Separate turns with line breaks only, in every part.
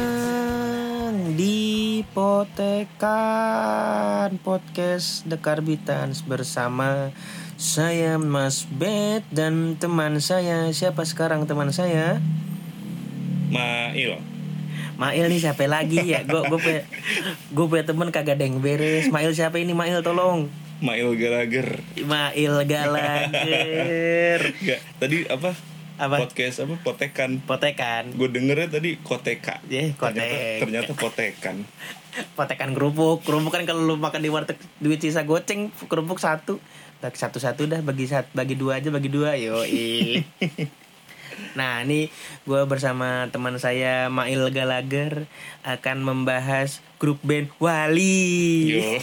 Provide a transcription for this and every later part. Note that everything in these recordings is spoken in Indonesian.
Karbitan di Potekan Podcast The Karbitans bersama saya Mas Bet dan teman saya siapa sekarang teman saya
Mail.
Mail nih siapa lagi ya gue gue punya gue punya temen kagak ada yang beres Mail siapa ini Mail tolong
Mail Gallagher.
Mail Galager
Enggak, tadi apa?
apa
Podcast apa? Potekan.
Potekan
Gue dengernya tadi koteka.
ya
Ternyata,
kotek
ternyata potekan.
potekan kerupuk kerupuk kan kalau lu makan di warteg duit sisa goceng kerupuk satu bagi satu satu dah bagi sat- bagi dua aja bagi dua yo nah ini gue bersama teman saya Mail Galager akan membahas grup band Wali
Yo.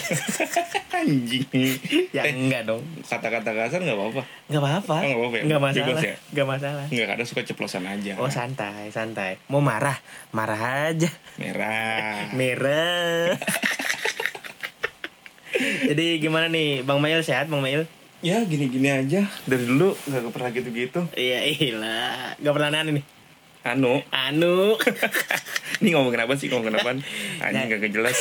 Anjing. Eh,
ya enggak dong
Kata-kata kasar nggak apa-apa.
nggak apa-apa
Oh, nggak apa-apa ya?
nggak
Bebas
masalah
ya?
nggak masalah
Nggak ada suka ceplosan aja.
oh santai santai mau marah marah aja
Merah.
merah jadi gimana nih Bang Mail sehat Bang Mail
Ya gini-gini aja. Dari dulu nggak pernah gitu-gitu.
Iya ilah, gak pernah nanya nih.
Anu,
Anu,
ini ngomongin apa sih? Ngomongin apa?
Ya.
Anjing gak jelas.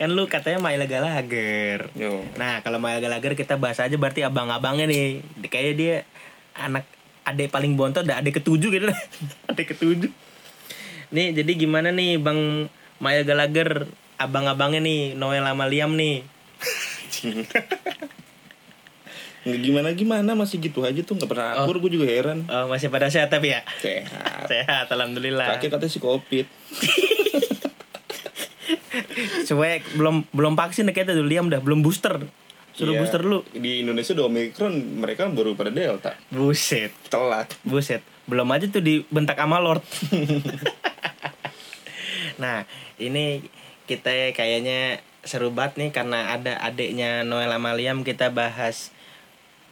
kan lu katanya Maila Galager.
Yo.
Nah kalau Maila Galager kita bahas aja berarti abang-abangnya nih. Kayaknya dia anak adek paling bontot dan adek ketujuh gitu. lah. adek ketujuh. Nih jadi gimana nih Bang Maila Galager abang-abangnya nih Noel sama Liam nih.
Nggak gimana-gimana masih gitu aja tuh nggak pernah akur. Gue juga heran.
Oh, masih pada sehat tapi ya.
Sehat.
Sehat alhamdulillah.
Terakhir katanya si covid.
Cuek belum belum vaksin kayaknya tuh Liam dah belum booster. Suruh
Iya.
booster lu.
Di Indonesia udah Omicron, mereka baru pada Delta.
Buset.
Telat.
Buset, belum aja tuh dibentak sama Lord. nah, ini kita kayaknya seru banget nih karena ada adiknya Noel sama Liam kita bahas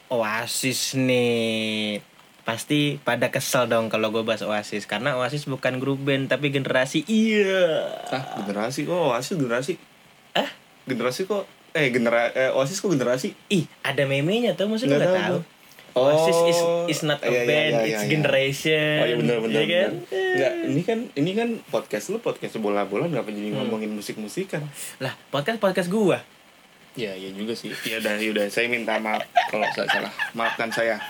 Oasis nih. Pasti pada kesel dong kalau gue bahas Oasis karena Oasis bukan grup band tapi generasi iya.
Ah, generasi kok Oasis generasi.
Eh?
Generasi kok eh genera eh, Oasis kok generasi?
Ih, ada meme-nya tuh maksudnya
Nggak
nggak
tahu
tahu.
gua.
Oasis is,
Oh,
is not a
iya, iya,
band,
iya,
it's
iya.
generation.
Oh iya benar benar.
Iya kan?
benar. Nggak, ini kan ini kan podcast lu podcast bola-bola kenapa jadi
Hmm.
ngomongin musik-musikan?
Lah, podcast podcast gua. Iya,
Ya, ya juga sih. Ya udah, ya udah saya minta maaf kalau saya salah. Maafkan saya.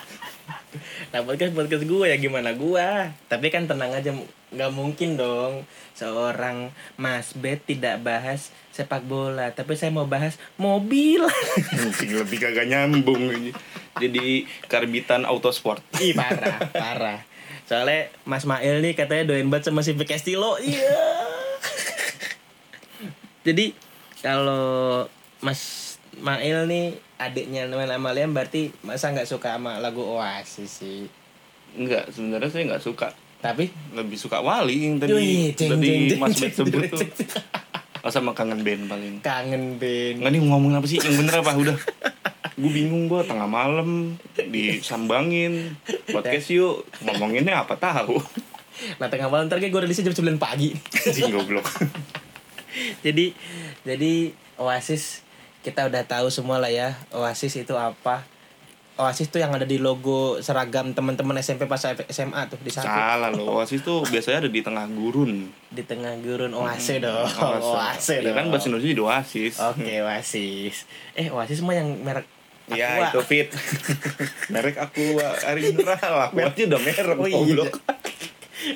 Nah podcast podcast gue ya gimana gue Tapi kan tenang aja nggak mungkin dong Seorang Mas Bet tidak bahas sepak bola Tapi saya mau bahas mobil
Anjing, lebih kagak nyambung Jadi karbitan autosport.
Ih parah parah Soalnya Mas Mail nih katanya doain banget sama si Vic Castillo Iya Jadi kalau Mas Mail nih adiknya Noel Amalian berarti masa nggak suka sama lagu Oasis sih
Enggak, sebenarnya saya nggak suka.
tapi
lebih suka Wali yang tadi
Wih, jeng,
tadi
jeng, jeng,
Mas
jeng,
Bet sebut
jeng,
tuh.
jeng, jeng.
Oh, sama kangen band paling.
kangen Ben
Enggak nih ngomongin apa sih? Yang bener apa? Udah. Gue bingung gue tengah malam disambangin podcast yuk ngomonginnya apa tahu.
Nah tengah malam ntar kayak gue rilisnya jam 9 pagi
Anjing goblok.
Jadi jadi Oasis kita udah tahu semua lah ya Oasis itu apa Oasis tuh yang ada di logo seragam teman-teman SMP pas SMA tuh di samping
Salah loh. Oasis tuh biasanya ada di tengah gurun.
di tengah gurun Oasis dong
Oasis.
Oh, Oasis Oh,
Ya
dong
kan bahasa Indonesia jadi Oasis.
Oke Oasis Eh Oasis mah yang merek
Ya itu
Aqua.
fit. merek aku Arindra lah. Merknya udah merek
Oh iya.
goblok.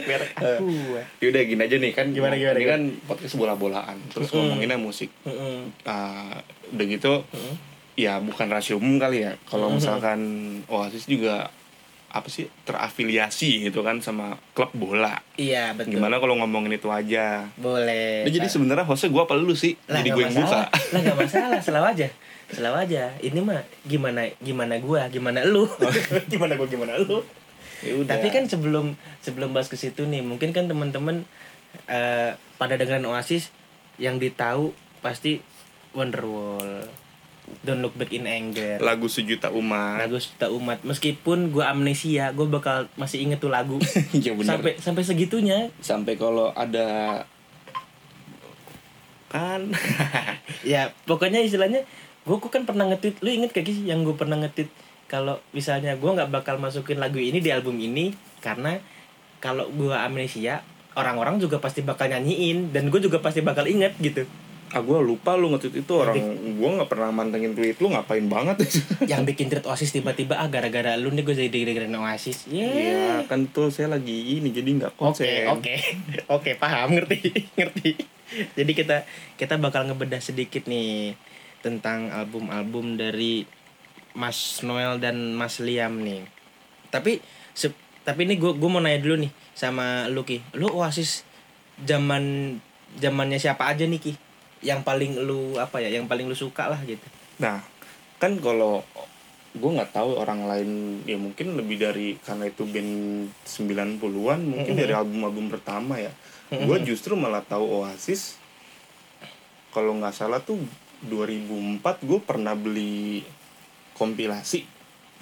merek Aqua
Yaudah gini aja nih kan
Gimana, gimana,
ini
gimana? Hmm.
kan podcast bola-bolaan terus ngomonginnya musik
Mm-mm.
Ah, udah gitu
Hmm?
ya bukan rasio umum kali ya kalau misalkan Oasis juga apa sih terafiliasi gitu kan sama klub bola
Iya betul
gimana kalau ngomongin itu aja
Boleh
Nah, jadi sebenarnya hostnya gue apa lu sih
lah nggak
jadi gue yang buka
masalah lah nggak masalah selaw aja selaw aja ini mah gimana gimana gua gimana lu gimana gua gimana lu
Ya udah.
tapi kan sebelum sebelum bahas ke situ nih mungkin kan teman-teman eh, pada dengerin Oasis yang ditahu pasti Wonderwall Don't Look Back in Anger
lagu sejuta umat
lagu Suta Umat meskipun gua amnesia gua bakal masih inget tuh lagu
ya benar sampai,
sampai sampai segitunya
kalau ada kan
ya pokoknya istilahnya gue kan pernah nge-tweet lu inget gak sih yang gue pernah nge-tweet kalau misalnya gue nggak bakal masukin lagu ini di album ini karena kalau gue amnesia orang-orang juga pasti bakal nyanyiin dan gue juga pasti bakal inget gitu
ah gue lupa lu nge-tweet itu orang gue nggak pernah mantengin tweet lu ngapain banget
yang bikin treat oasis tiba-tiba ah gara-gara lu nih gue jadi gara-gara oasis
iya
yeah.
kan tuh saya lagi ini jadi nggak
oke
konsen
oke oke paham ngerti ngerti jadi kita kita bakal ngebedah sedikit nih tentang album-album dari Mas Noel dan Mas Liam nih tapi se- tapi ini gue gue mau nanya dulu nih sama lu ki lu oasis zaman zamannya siapa aja nih ki yang paling lu apa ya yang paling lu suka lah gitu
nah kan kalau gue nggak tahu orang lain ya mungkin lebih dari karena itu band 90-an mungkin
Mhm.
dari album-album pertama ya gue justru malah tahu Oasis kalau nggak salah tuh 2004 gue pernah beli kompilasi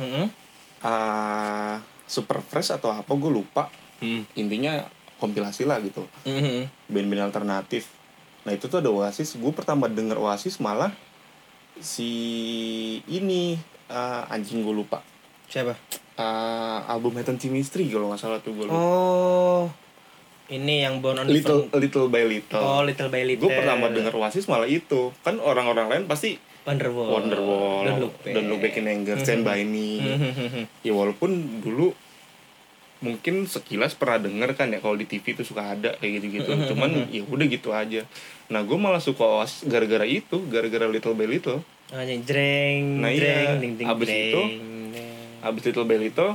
Heeh.
ah super fresh atau apa gue lupa
Heeh.
intinya kompilasi lah gitu
Heeh.
band-band alternatif nah itu tuh ada Oasis gue pertama denger Oasis malah si ini ah, anjing gue lupa
siapa
Ah, album Heaven Chemistry kalau nggak salah tuh gue lupa
oh ini yang Born on
little
Different-
little by little
oh little by little
gue pertama denger Oasis malah itu kan orang-orang lain pasti
Wonderwall
Wonderwall
Don't Look Back, Mm-hmm.
Don't Look Back in Anger Stand by Me
Mhm.
ya walaupun dulu mungkin sekilas pernah denger kan ya kalau di TV itu suka ada kayak gitu-gitu cuman ya udah gitu aja nah gue malah suka Oasis gara-gara itu gara-gara Little by Little
Anjing, Ah, jreng
Nah, iya.
jreng ding ding
Abis itu, abis Little by Little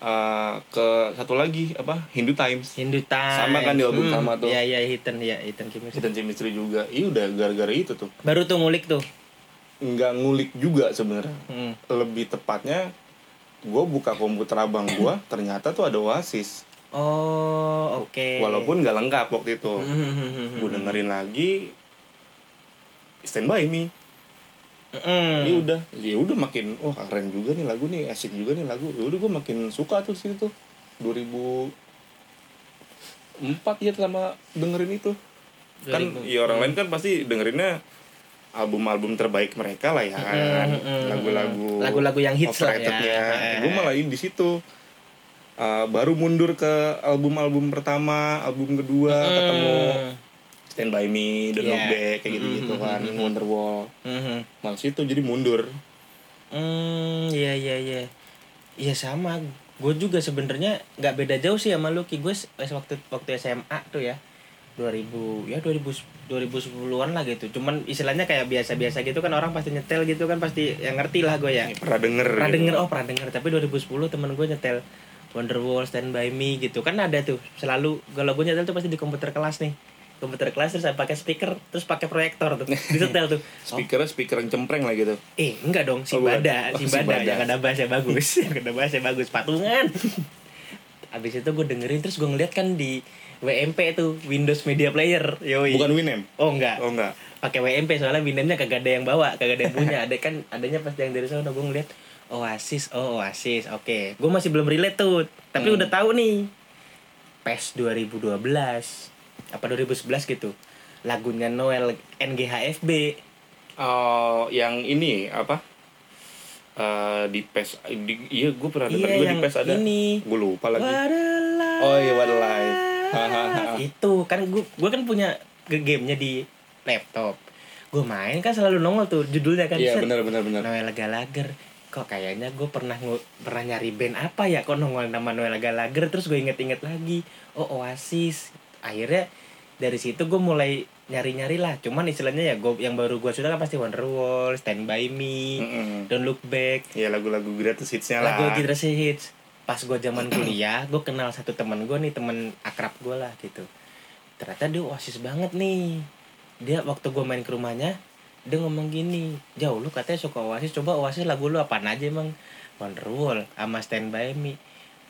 eh, ke satu lagi apa Hindu Times
Hindu Times
Sama kan di album
Hmm,
sama tuh.
iya iya Hiten iya Hiten Kim Il-sung.
dan Chemistry juga iya udah gara-gara itu tuh
baru tuh ngulik tuh
nggak ngulik juga sebenarnya
Hmm.
lebih tepatnya gue buka komputer abang gue ternyata tuh ada Oasis
oh oke
walaupun nggak lengkap waktu itu
Mhm.
gue dengerin lagi Stand By Me
Mhm.
ini udah ya udah makin wah keren juga nih lagu nih asik juga nih lagu ya udah gue makin suka tuh situ tuh 2004 ya sama dengerin itu kan
2000.
ya orang lain kan pasti dengerinnya album-album terbaik mereka lah ya kan.
Mhm.
lagu-lagu
Lagu-lagu yang hits lah ya.
overratednya.
Eh.
gue malah ini di situ Uh, baru mundur ke album-album pertama album kedua
Mhm.
ketemu Stand By Me, The
Iya.
Look Back, kayak gitu-gitu
Mhm.
kan, Wonderwall.
Mhm.
Malah situ jadi mundur.
Hmm, iya iya iya. Iya sama. Gue juga sebenarnya nggak beda jauh sih sama lu ki gue se- eh, waktu waktu SMA tuh ya. 2000 ya 2000 2010-an lah gitu. Cuman istilahnya kayak biasa-biasa gitu kan orang pasti nyetel gitu kan pasti yang ngerti lah gue ya.
Ya, pernah denger
Pernah
gitu.
denger oh pernah denger tapi 2010 temen gue nyetel Wonderwall Stand By Me gitu kan ada tuh selalu kalau gue nyetel tuh pasti di komputer kelas nih komputer kelas terus saya pakai speaker terus pakai proyektor tuh disetel tuh
Speakernya speaker yang cempreng lah gitu.
Eh, enggak dong, si
Oh, bukan.
Bada,
Oh,
si
si
Bada
Bada.
yang ada bahasa bagus, yang ada bahasa bagus patungan. Abis itu gue dengerin terus gue ngeliat kan di WMP tuh Windows Media Player, yoi.
Bukan Winem.
Oh enggak,
Oh enggak.
pakai WMP soalnya Windowsnya kagak ada yang bawa, kagak ada yang punya. Ada kan adanya pas yang dari sana gue ngeliat Oasis, oh Oasis, oke. Gue masih belum relate tuh, tapi
Hmm.
udah tahu nih. PES 2012 apa 2011 gitu. Lagunya Noel NGHFB.
Oh, yang ini apa? Eh, di PES di- iya gue pernah denger
Iya
juga di
yang
PES ada.
ini.
Gue lupa lagi.
What a life.
Oh iya, what a life. Hahaha.
itu kan gua gua kan punya ge- gamenya di laptop. Gue main kan selalu nongol tuh judulnya kan.
Iya,
set.
benar benar benar.
Noel Gallagher. Kok kayaknya gue pernah ngu- pernah nyari band apa ya kok nongol nama Noel Gallagher terus gue inget-inget lagi. Oh Oasis. Akhirnya dari situ gue mulai nyari-nyari lah. Cuman istilahnya ya gue yang baru gue sudah kan pasti Wonderwall, Stand By Me,
Mm-mm.
Don't Look Back,
Ya lagu-lagu gratis hitsnya lah.
lagu generasi hits pas gue zaman kuliah gue kenal satu teman gue nih teman akrab gue lah gitu ternyata dia oasis banget nih dia waktu gue main ke rumahnya dia ngomong gini jauh lu katanya suka oasis coba oasis lagu lu apaan aja emang Wonderwall sama Stand By Me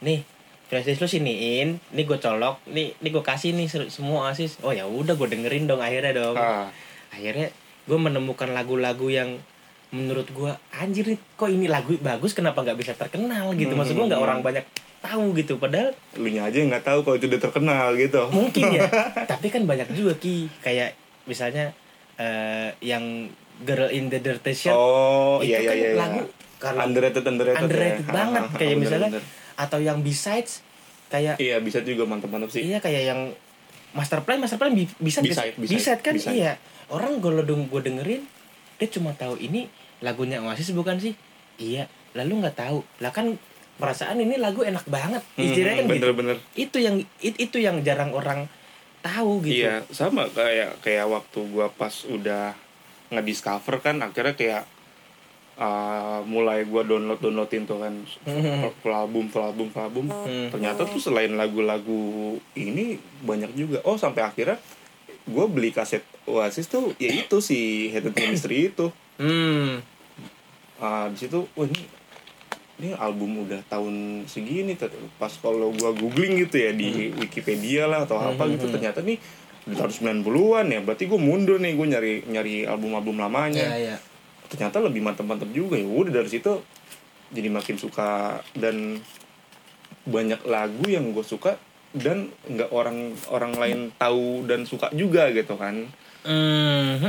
nih flashdisk lu siniin nih gue colok nih nih gue kasih nih ser- semua oasis oh ya udah gue dengerin dong akhirnya dong
Ah,
akhirnya gue menemukan lagu-lagu yang menurut gue anjir nih, kok ini lagu bagus kenapa nggak bisa terkenal gitu maksud gue nggak orang banyak tahu gitu padahal
lu nya aja yang nggak tahu kalau itu udah terkenal gitu.
mungkin ya tapi kan banyak juga ki kayak misalnya eh, yang girl in the dirty shirt
Oh,
itu
iya iya
kan
iya.
lagu karena
underrated underrated, ya.
underrated
Ah,
banget
ah,
kayak
bener,
misalnya
bener.
atau yang besides kayak
Iya, bisa juga mantap-mantap sih.
iya kayak yang master plan master plan bi- bisa bisa
Beside, beside,
bisa kan
beside.
iya orang gue gue dengerin dia cuma tahu ini lagunya Oasis bukan sih iya lalu nggak tahu lah kan perasaan ini lagu enak banget istilahnya kan
Hmm,
gitu
bener-bener.
itu yang it- itu yang jarang orang tahu gitu
Iya, sama kayak kayak waktu gua pas udah ngediscover kan akhirnya kayak uh, mulai gua download downloadin tuh kan
Hmm.
full album full album full album
Hmm.
ternyata tuh selain lagu-lagu ini banyak juga oh sampai akhirnya gua beli kaset Oasis tuh ya itu si Hated Ministry itu
Hmm.
Ah, di situ wah ini ini album udah tahun segini ter- pas kalau gua googling gitu ya di Wikipedia lah atau apa
Hmm,
gitu
hmm,
ternyata nih di tahun 90-an ya berarti gue mundur nih gue nyari nyari album-album
Iya,
lamanya
iya.
ternyata lebih mantep-mantep juga ya udah dari situ jadi makin suka dan banyak lagu yang gue suka dan nggak orang orang lain tahu dan suka juga gitu kan
Hmm,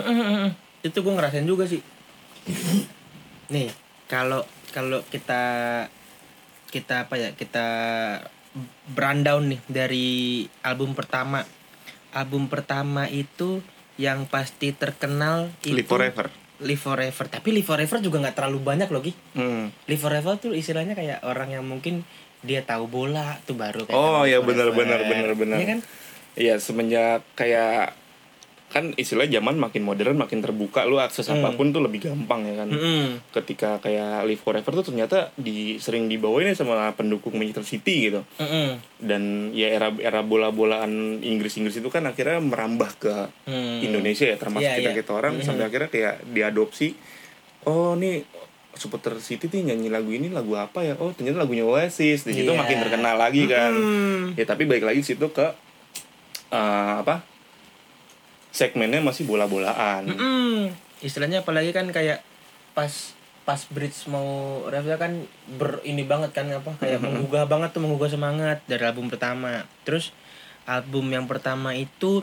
itu gue ngerasain juga sih. Nih, kalau kalau kita kita apa ya kita rundown nih dari album pertama. Album pertama itu yang pasti terkenal itu
Live Forever
Live Forever. Tapi Live Forever juga nggak terlalu banyak loh, Gi.
Hmm.
Live Forever tuh istilahnya kayak orang yang mungkin dia tahu bola tuh baru kayak
Oh,
Live
iya,
Forever.
benar, benar, benar, benar.
Iya kan?
Iya semenjak kayak kan istilah zaman makin modern makin terbuka lu akses
Hmm.
apapun tuh lebih gampang ya kan.
Mm-mm.
Ketika kayak Live Forever tuh ternyata di sering dibawain ya sama pendukung Manchester City gitu.
Mm-mm.
Dan ya era era bola-bolaan Inggris-Inggris itu kan akhirnya merambah ke
Hmm.
Indonesia ya termasuk
Iya,
kita
iya.
kita orang
Mhm.
sampai akhirnya kayak diadopsi. Oh nih supporter City nih nyanyi lagu ini lagu apa ya? Oh ternyata lagunya Oasis. Di situ
Iya.
makin terkenal lagi kan
Mm-mm.
ya tapi balik lagi situ ke eh, apa segmennya masih bola-bolaan
Mm-mm. Istilahnya apalagi kan kayak pas pas bridge mau review kan ber ini banget kan apa kayak menggugah banget tuh menggugah semangat dari album pertama. Terus album yang pertama itu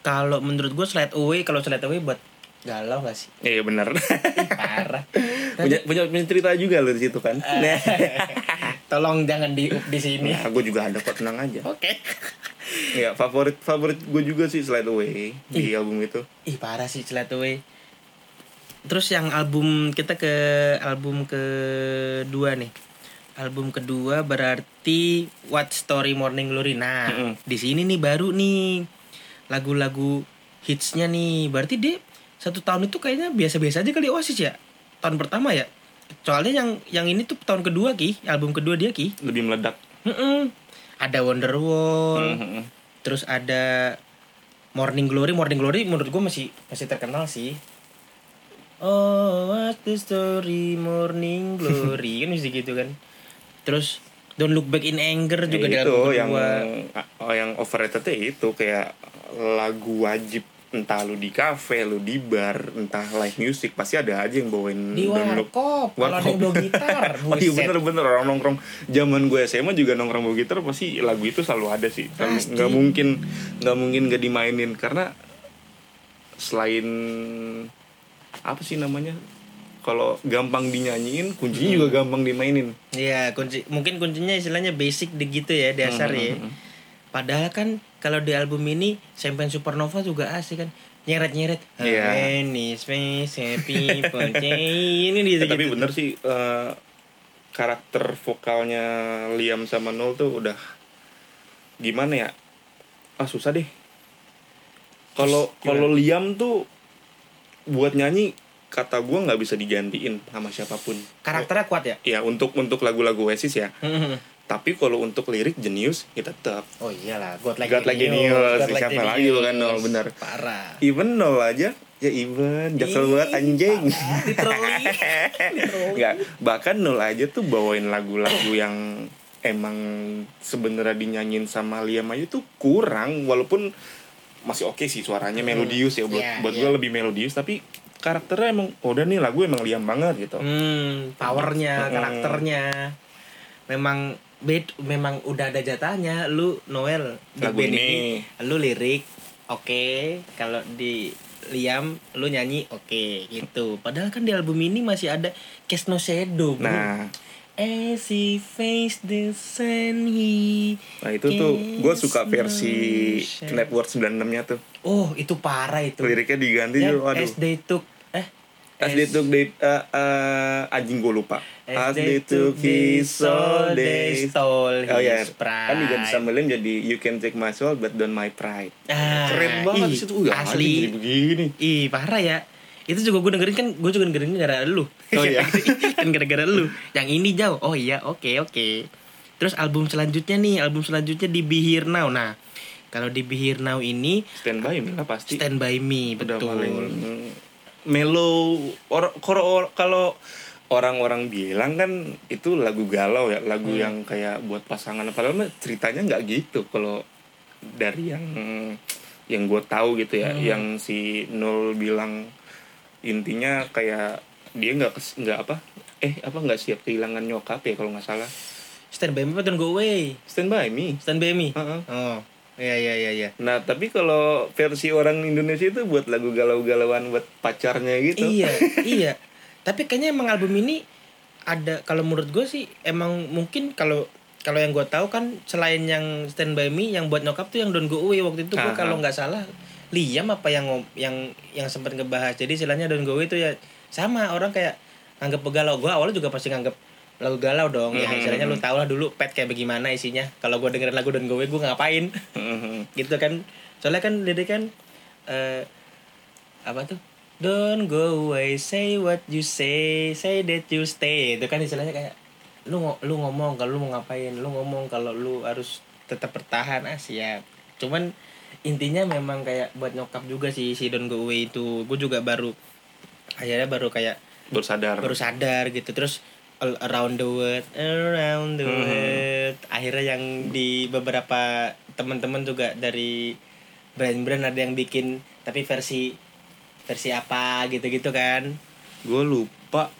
kalau menurut gue Slide Away kalau Slide Away buat galau gak sih?
iya benar
Ih, Parah.
punya, punya punya cerita juga lo di situ kan
Eh.
nah,
ah, Tolong jangan di up di sini.
gue juga ada kok tenang aja
Oke.
ya favorit favorit gue juga sih slide away di album itu
Ih parah sih Slide Away. Terus yang album kita ke album kedua nih. Album kedua berarti What Story Morning Glory. Nah,
Mm-mm.
di sini nih baru nih lagu-lagu hitsnya nih. Berarti dia satu tahun itu kayaknya biasa-biasa aja kali Oasis ya. Tahun pertama ya. Soalnya yang yang ini tuh tahun kedua ki, album kedua dia ki.
lebih meledak
Mm-mm. Ada Wonderwall,
Mhm.
terus ada Morning Glory Morning Glory menurut gue masih masih terkenal sih Oh what the story Morning Glory kan masih gitu kan terus Don't Look Back in Anger juga di
Ya, itu
album
yang
kedua.
oh, yang overrated itu kayak lagu wajib entah lu di kafe lu di bar entah live music pasti ada aja yang bawain
di
download
warkop kalau ada yang
Warkop.
bawa gitar
Oh iya
buset.
bener-bener orang nongkrong zaman gue SMA juga nongkrong bawa gitar pasti lagu itu selalu ada sih Selalu-
Pasti.
nggak mungkin nggak mungkin gak dimainin karena selain apa sih namanya kalau gampang dinyanyiin kuncinya
Hmm.
juga gampang dimainin
Iya, kunci mungkin kuncinya istilahnya basic di gitu ya,
Hmm,
dasar ya. Padahal kan kalau di album ini Champagne Supernova juga asik kan. Nyeret-nyeret.
Iya.
Any space happy ponce- ini
Ya,
gitu.
tapi bener sih eh, karakter vokalnya Liam sama Nol tuh udah gimana ya ah susah deh kalau kalau Liam tuh buat nyanyi kata gua nggak bisa digantiin sama siapapun
Karakternya kuat ya?
ya untuk untuk lagu-lagu Oasis ya tapi kalau untuk lirik jenius ya tetap
Oh iyalah, God Like
God Like Genius, siapa lagi bukan Nol, benar.
Parah.
even Nol aja ya even jaksel banget
Ih,
anjing
parah. Literally. Literally.
Nggak, bahkan nol aja tuh bawain lagu-lagu yang emang sebenarnya dinyanyiin sama Liam aja tuh kurang walaupun masih oke sih suaranya melodius ya buat
Iya,
buat
iya.
gue lebih melodius tapi karakternya emang "Oh, udah nih lagu emang Liam banget gitu.
Hmm, powernya,
Hmm.
karakternya. Memang bed memang udah ada jatahnya lu Noel di
Lagu
band
ini.
lu lirik oke kalau di Liam lu nyanyi oke gitu padahal kan di album ini masih ada Case No Shadow bro.
Nah,
As he faced the sun he
Nah itu tuh gue
Yes,
suka versi
no shame.
Network 96 nya tuh
Oh itu parah itu
Liriknya diganti
Yang
tuh aduh
As they took Eh
As they took the, uh, uh, Anjing gue lupa
As they took his soul They stole his
Oh ya
pride
Kan diganti sama Liam jadi You can take my soul but don't my pride
Ah,
Keren banget
ih,
sih tuh Ya,
Asli
jadi begini
Ih parah ya itu juga gue dengerin kan gue juga dengerin gara-gara lu
Oh, iya.
kan gara-gara lu yang ini jauh oh iya oke oke terus album selanjutnya nih album selanjutnya di Be Here Now nah kalau di Be Here Now ini
Stand by me lah pasti
Stand By Me
Udah
betul
paling Mellow Or- kor- or- Kalau orang-orang bilang kan itu lagu galau ya lagu
Hmm.
yang kayak buat pasangan padahal mah ceritanya nggak gitu kalau dari yang yang gue tahu
Hmm.
gitu ya yang si Nul bilang intinya kayak dia nggak kes- nggak apa eh apa nggak siap kehilangan nyokap ya kalau nggak salah
Stand By Me apa Don't Go Away
Stand by me
Stand By Me
Heeh.
oh iya iya iya iya
nah tapi kalau versi orang Indonesia itu buat lagu galau-galauan buat pacarnya gitu
iya iya tapi kayaknya emang album ini ada kalau menurut gue sih emang mungkin kalau kalau yang gue tahu kan selain yang Stand By Me yang buat nyokap tuh yang Don't Go Away waktu itu gue
Aha.
kalau nggak salah Liam apa yang ngom- yang yang sempat ngebahas jadi istilahnya Don't Go Away itu ya sama orang kayak nganggep galau gue awalnya juga pasti nganggep lagu galau dong ya
Mhm.
istilahnya lu tau lah dulu pet kayak bagaimana isinya kalau gue dengerin lagu Don't Go Away gue ngapain
Mhm.
gitu kan soalnya kan lirik kan eh apa tuh don't go away say what you say say that you stay itu kan istilahnya kayak lu ngo- lu ngomong kalau lu mau ngapain lu ngomong kalau lu harus tetap bertahan ah siap cuman intinya memang kayak buat nyokap juga sih si don't go away itu gue juga baru akhirnya baru kayak
baru sadar
baru sadar gitu terus all around the world around the
Mhm.
world akhirnya yang di beberapa teman-teman juga dari brand-brand ada yang bikin tapi versi versi apa gitu-gitu kan
gue lupa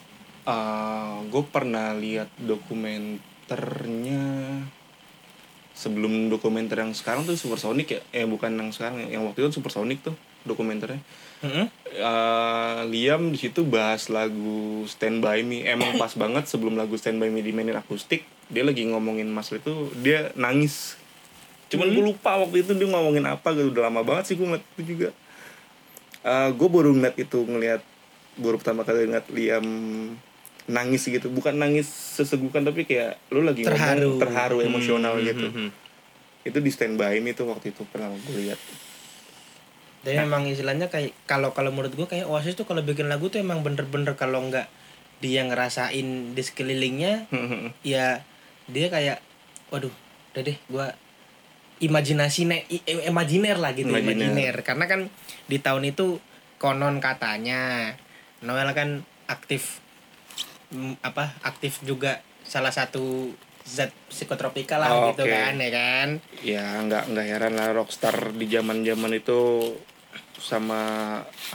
gue pernah lihat dokumenternya sebelum dokumenter yang sekarang tuh Supersonic ya eh bukan yang sekarang ya. yang waktu itu Supersonic tuh dokumenternya
Heeh.
Eh, Liam di situ bahas lagu Stand By Me emang pas banget sebelum lagu Stand By Me dimainin akustik dia lagi ngomongin masalah itu dia nangis cuman
Hmm?
gue lupa waktu itu dia ngomongin apa gitu udah lama banget sih gue ngeliat itu juga gue baru ngeliat itu ngeliat baru pertama kali ngeliat Liam nangis gitu bukan nangis sesegukan tapi kayak lu lagi ngomong
terharu
terharu emosional
Hmm,
gitu
hmm, hmm.
itu di Stand By Me tuh waktu itu pertama gue lihat
Tapi memang istilahnya kayak kalau kalau menurut gua kayak Oasis tuh kalau bikin lagu tuh emang bener-bener kalau nggak dia ngerasain di sekelilingnya ya dia kayak waduh udah deh gua imajinasi ne i- i- imajiner lah gitu
Imajiner.
imajiner karena kan di tahun itu konon katanya Noel kan aktif mm, apa aktif juga salah satu zat psikotropika lah
Oh,
gitu
oke.
kan ya kan
ya nggak nggak heran lah rockstar di zaman zaman itu sama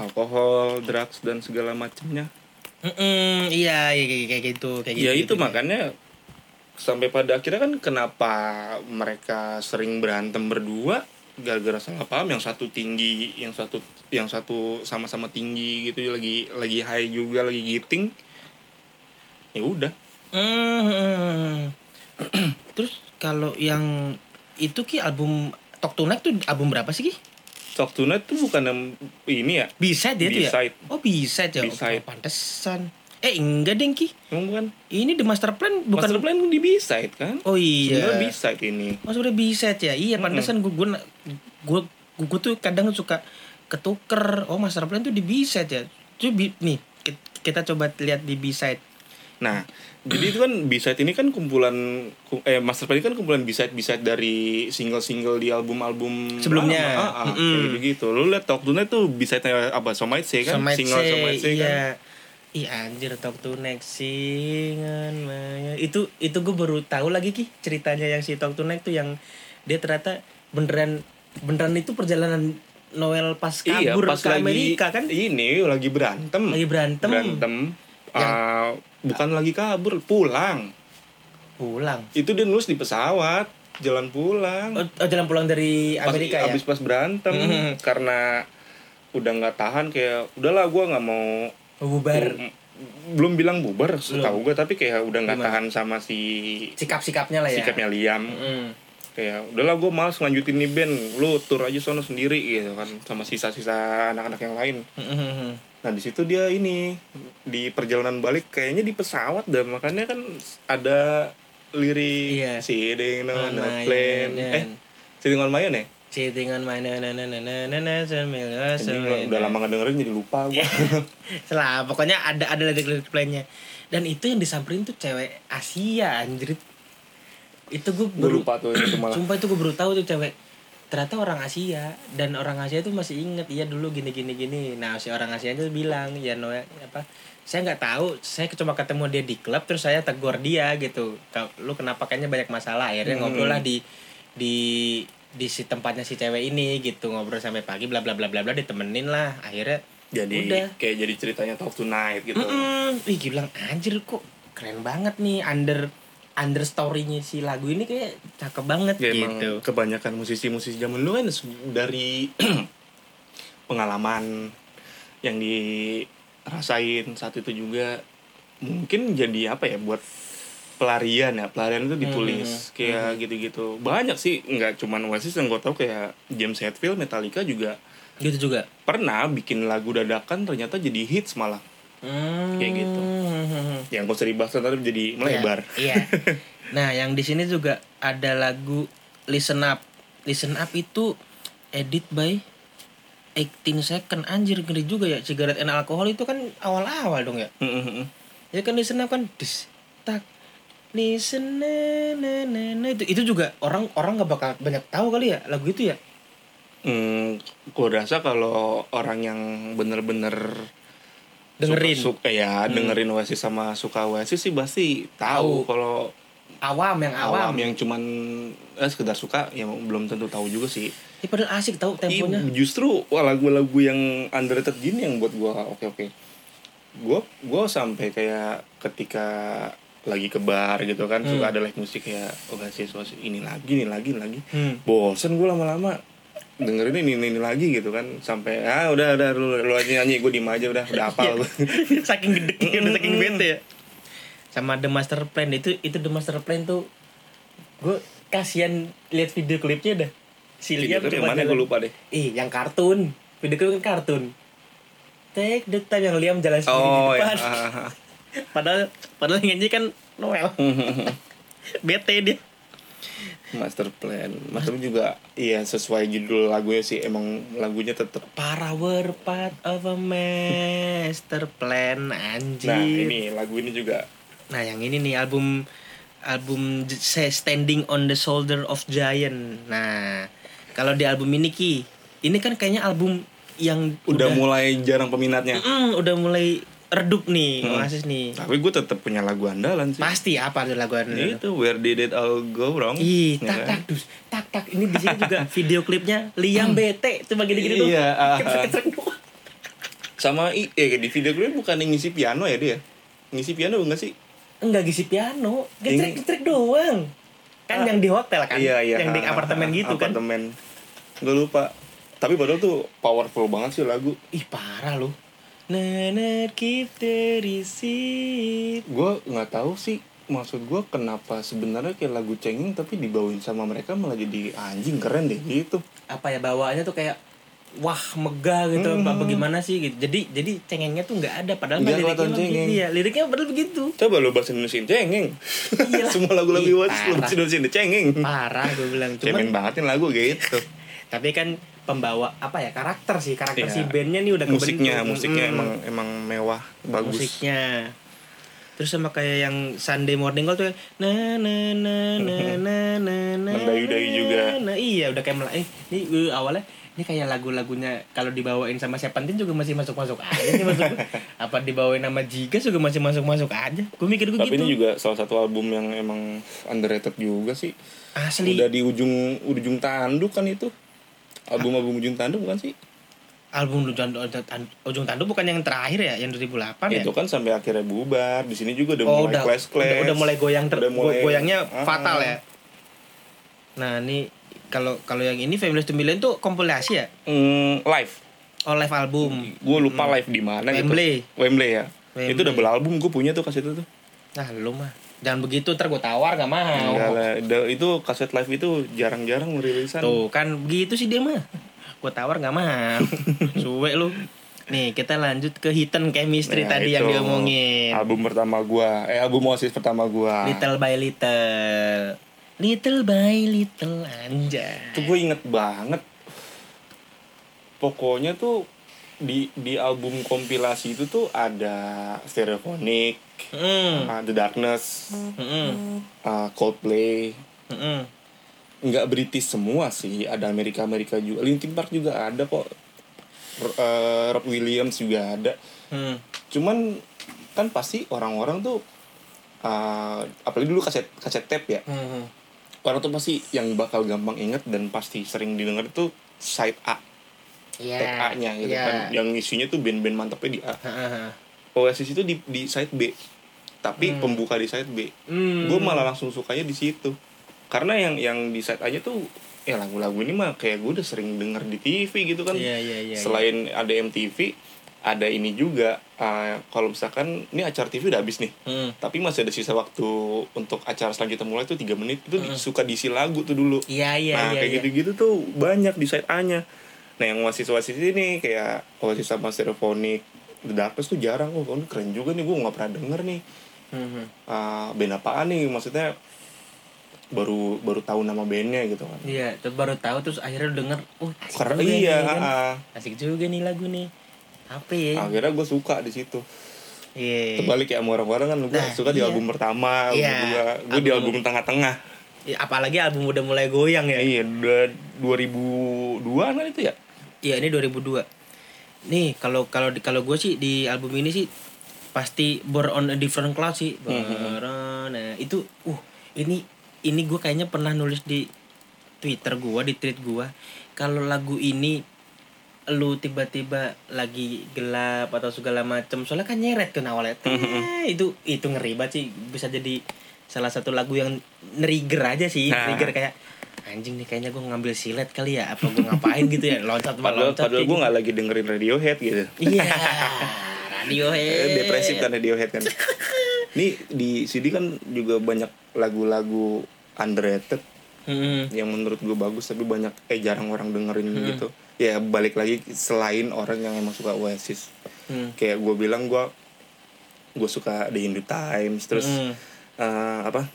alkohol drugs dan segala macamnya
Mm-mm, iya iya, kayak kayak gitu kayak gitu
ya itu
gitu.
makanya sampai pada akhirnya kan kenapa mereka sering berantem berdua gara-gara salah paham yang satu tinggi yang satu yang satu sama-sama tinggi gitu lagi lagi high juga lagi giting ya udah
Hmm. terus kalau yang itu ki album Talk to Night tuh album berapa sih ki
Talk to Night tuh bukan yang ini ya
bisa dia tuh ya
B-side.
Oh bisa ya.
B-side.
Oh, pantesan. Eh enggak deng Ki.
emang bukan
Ini The Master Plan bukan.
Master Plan di B-side kan
Oh iya.
Sebenarnya B-side ini
Oh sebenarnya bisa ya. Iya pantesan gue gue gue gue tuh kadang suka ketuker. Oh Master Plan tuh di B-side ya. Tuh bi- nih ki- kita coba lihat di B-side.
Nah, jadi itu kan B-side ini kan kumpulan ku- eh master plan ini kan kumpulan B-side B-side dari single-single di album-album
Sebelumnya.
lama. Ah, ah,
Mm-mm.
kayak begitu. Lu lihat Talk Tonight tuh B-side-nya apa? Somight Say kan?
Sama
single Somight Say kan.
iya. Ih anjir talk to next singan Maya. Itu itu gue baru tahu lagi Ki ceritanya yang si talk to next tuh yang dia ternyata beneran beneran itu perjalanan Noel pas
Iya,
kabur
pas
ke
lagi
Amerika kan
Ini lagi berantem.
lagi berantem,
Berantem.
Yang-
Ah, bukan lagi kabur, pulang.
pulang.
Itu dia nulis di pesawat, jalan pulang.
Oh, oh, jalan pulang dari
pas
Amerika ya.
abis pas berantem
Mhm.
karena udah nggak tahan kayak udahlah gua nggak mau
Bubar.
Mm, belum bilang bubar setahu
Belum.
gue tapi kayak udah nggak
Gimana?
tahan sama si
sikap-sikapnya lah ya
sikapnya Liam
Mm.
kayak udahlah gue males lanjutin nih band lu tur aja sono sendiri gitu kan sama sisa-sisa anak-anak yang lain
Mm-mm.
nah di situ dia ini di perjalanan balik kayaknya di pesawat dan makanya kan ada lirik
Iya.
sitting on a
Mana
plane
ya,
eh sitting on my own ya
Sitting on my na na na na na na na sambil
Anjing,
sambil-
udah lama gak dengerin jadi lupa
Iya.
gue
Salah, pokoknya ada ada lirik-lirik lainnya. Dan itu yang disamperin tuh cewek Asia anjir. Itu gue
gue
baru
lupa tuh itu malah
sumpah itu gue baru tahu tuh cewek ternyata orang Asia dan orang Asia itu masih inget iya dulu gini gini gini nah si orang Asia itu bilang ya Noe apa saya nggak tahu saya cuma ketemu dia di klub terus saya tegur dia gitu "Kau- lu kenapa kayaknya banyak masalah akhirnya
Hmm.
ngobrol lah di di di si tempatnya si cewek ini gitu ngobrol sampai pagi bla bla bla bla bla ditemenin lah akhirnya
jadi
udah.
kayak jadi ceritanya talk tonight gitu
Mm-mm. Ih, gue bilang anjir kok keren banget nih under under story-nya si lagu ini kayak cakep banget
Ya, emang
gitu.
kebanyakan musisi-musisi zaman dulu kan se- dari pengalaman yang dirasain saat itu juga mungkin jadi apa ya buat pelarian ya pelarian itu ditulis
Hmm,
kayak gitu-gitu banyak sih nggak cuman Oasis yang gue tau kayak James Hetfield Metallica juga
Gitu juga.
pernah bikin lagu dadakan ternyata jadi hits malah Ya, Kayak gitu. yang gue sering bahas tadi jadi melebar
Mm-hmm. Iya. iya. Nah, yang di sini juga ada lagu Listen Up. Listen Up itu edit by 18 second anjir ngeri juga ya cigaret and alkohol itu kan awal-awal dong ya ya kan listen up kan dis tak listen na, na, na, na. itu itu juga orang orang nggak bakal banyak tahu kali ya lagu itu ya
Hmm, gue rasa kalau orang yang bener-bener
Dengerin. Hmm.
suka, suka ya dengerin Oasis sama suka Oasis sih pasti tahu
Tahu.
kalau
awam yang awam,
awam yang cuman eh, sekedar suka ya belum tentu tahu juga sih.
Ya, padahal asik tahu
Ih,
temponya
justru wah, lagu-lagu yang underrated gini yang buat gua oke oke. Gua gua sampai kayak ketika lagi ke bar gitu kan suka ada live musik oh, kayak Oasis Oasis ini lagi ini lagi ini lagi.
Hmm.
bosen gue lama-lama dengerin ini, ini ini lagi gitu kan sampai ah udah udah lu, lu aja nyanyi gue diem aja udah
Iya.
udah hafal gua.
saking gede
iya,
udah saking bete ya sama The Master Plan itu itu The Master Plan tuh gue kasihan lihat video klipnya dah si Liam
Video klip yang
coba
mana
jalan.
gue lupa deh
ih yang kartun video klip kan kartun take the time yang Liam jalan sendiri
oh
di
ya
depan padahal padahal yang nyanyi kan Noel bete dia
master plan master Plan juga iya sesuai judul lagunya sih emang lagunya tetap
para were part of a master plan anjir
nah ini lagu ini juga
Nah, yang ini nih album album J- saya Standing on the Shoulder of Giant. Nah, kalau di album ini Ki, ini kan kayaknya album yang
udah, mulai jarang peminatnya
Mm, udah mulai redup nih,
Hmm.
Oasis nih.
tapi gue tetap punya lagu andalan sih
Pasti apa ada lagu
Ini
Anda?
itu where did it all go wrong
Ih, tak
Ya Iya. kan?
tak dus, tak tak. Ini di sini juga video klipnya Liam bete cuma gini-gini tuh.
Hmm. Iya, ah, ah.
Ketrek-ketrek doang.
sama i eh di video klip bukan yang ngisi piano ya dia ngisi piano enggak sih
Enggak gisi piano,
Ini- Ah.
getrek-getrek doang. Kan yang di hotel kan,
iya iya
yang di apartemen gitu kan.
apartemen gue lupa tapi padahal tuh powerful banget sih lagu
Ih parah loh. Nana keep the receipt.
gue nggak tahu sih maksud gue kenapa sebenarnya kayak lagu cengeng tapi dibawain sama mereka malah jadi anjing keren deh gitu
Apa ya bawaannya tuh kayak wah megah gitu apa bagaimana sih gitu. Jadi jadi cengengnya tuh nggak ada padahal mah
Mhm. Nggak
liriknya
kelihatan
mah begitu
cengeng.
ya. Liriknya padahal begitu.
coba lo bahasa Indonesia cengeng
Iyalah.
semua lagu-lagu
Ih,
Iwan lo
parah.
bahasa Indonesia cengeng
Parah gue bilang cuman
cemen banget nih lagu gitu
tapi kan pembawa apa ya karakter sih karakter si
Iya.
bandnya nih udah kebentuk. Mhm.
musiknya musiknya
Mm-mm.
emang emang mewah bagus
musiknya terus sama kayak yang Sunday Morning Call tuh kayak, na na na na na na na
Mendayu-dayu juga.
na, iya udah kayak mel- eh ini eh, awalnya ini kayak lagu-lagunya kalau dibawain sama Seventeen juga masih masuk-masuk aja nih maksud gue. apa dibawain sama Jigas juga masih masuk-masuk aja gue mikir gue
tapi ini
gitu
juga salah satu album yang emang underrated juga sih
asli
udah di ujung ujung tanduk kan itu album album ujung tanduk bukan sih
album ujung, ujung tanduk bukan yang terakhir ya yang 2008 ya
itu kan sampai akhirnya bubar di sini juga udah
Oh,
mulai
udah,
clash clash
udah udah mulai goyang ter
Udah mulai-
go- goyangnya
Ah.
fatal ya nah ini kalau kalau yang ini Families to Million tuh kompilasi ya
Mm, live
oh live album
Hmm. gue lupa live di mana gitu
Hmm. Wembley.
Wembley ya
Wembley.
Itu double album gue punya tuh kaset itu tuh.
Nah lu mah Jangan begitu ntar gue tawar gak mau
Enggak Iya lah, da- itu kaset live itu jarang-jarang merilisan.
Tuh kan begitu sih dia mah Gue tawar gak mau Suwe lu Nih kita lanjut ke hidden chemistry
Nah,
tadi yang
itu
diomongin
Album pertama gua, eh album Oasis pertama gua.
Little by little Little by little anjay
Tuh gue inget banget. Pokoknya tuh di di album kompilasi itu tuh ada Stereophonic,
Mm,
uh, The Darkness,
mm,
uh, Coldplay.
mm.
Nggak British semua sih, ada Amerika Amerika juga, Linkin Park juga ada kok. R- uh, Rob Williams juga ada.
Hmm.
Cuman kan pasti orang-orang tuh uh, apalagi dulu kaset kaset tape ya.
Hmm.
Orang tuh pasti yang bakal gampang inget dan pasti sering didengar tuh side A.
Ya,
tag A-nya gitu kan yang isinya tuh band-band mantapnya di A Oasis itu di, di side B
Hmm.
tapi pembuka di side B gue malah langsung sukanya di situ karena yang yang di side A-nya tuh ya lagu-lagu ini mah kayak gue udah sering denger di TV gitu kan
Iya, iya, iya,
selain ada MTV ada ini juga eh, kalau misalkan ini acara TV udah habis nih
Hmm.
tapi masih ada sisa waktu untuk acara selanjutnya mulai tuh tiga menit itu di- suka diisi lagu tuh dulu
Iya iya
nah
iya.
kayak
iya.
gitu-gitu tuh banyak di side A-nya. Nah yang oasis oasis ini kayak oasis sama stereophonic The Darkness tuh jarang oh ini keren juga nih gue nggak pernah denger nih
Hmm.
Ah, band apaan nih maksudnya baru baru tahu nama bandnya gitu kan
Iya, terus baru tahu terus akhirnya lu denger, oh asik
karena
juga
iya
nih, kan?
ah,
Asik juga nih lagu nih. Apa ya?
ah. akhirnya gue suka di situ
Iya.
terbalik ya sama orang-orang kan gue
Nah,
suka di
iya.
album pertama
Iya,
gue di
album-
album tengah-tengah
Iya, Apalagi album udah mulai goyang ya.
iya udah 2002 kan itu ya
Iya, ini 2002. Nih, kalau kalau di- kalau gue sih di album ini sih pasti Born on a Different Cloud sih. Born on a- itu uh ini ini gue kayaknya pernah nulis di Twitter gua, di tweet gua. Kalau lagu ini lu tiba-tiba lagi gelap atau segala macem soalnya kan nyeret kan awalnya
Mhm.
Teh, itu itu ngeri banget sih bisa jadi salah satu lagu yang nerigger aja sih
Nah.
trigger kayak anjing nih kayaknya gue ngambil silet kali ya apa gue ngapain gitu ya loncat
padahal
loncat
padahal gue nggak lagi dengerin Radiohead gitu
iya radio
Eh, depresif kan Radiohead kan. Nih di CD kan juga banyak lagu-lagu underrated
hmm.
yang menurut gue bagus tapi banyak eh jarang orang dengerin gitu. Ya balik lagi selain orang yang emang suka Oasis.
Hmm.
Kayak gue bilang gue gue suka The Hindu Times terus
Hmm.
eh, apa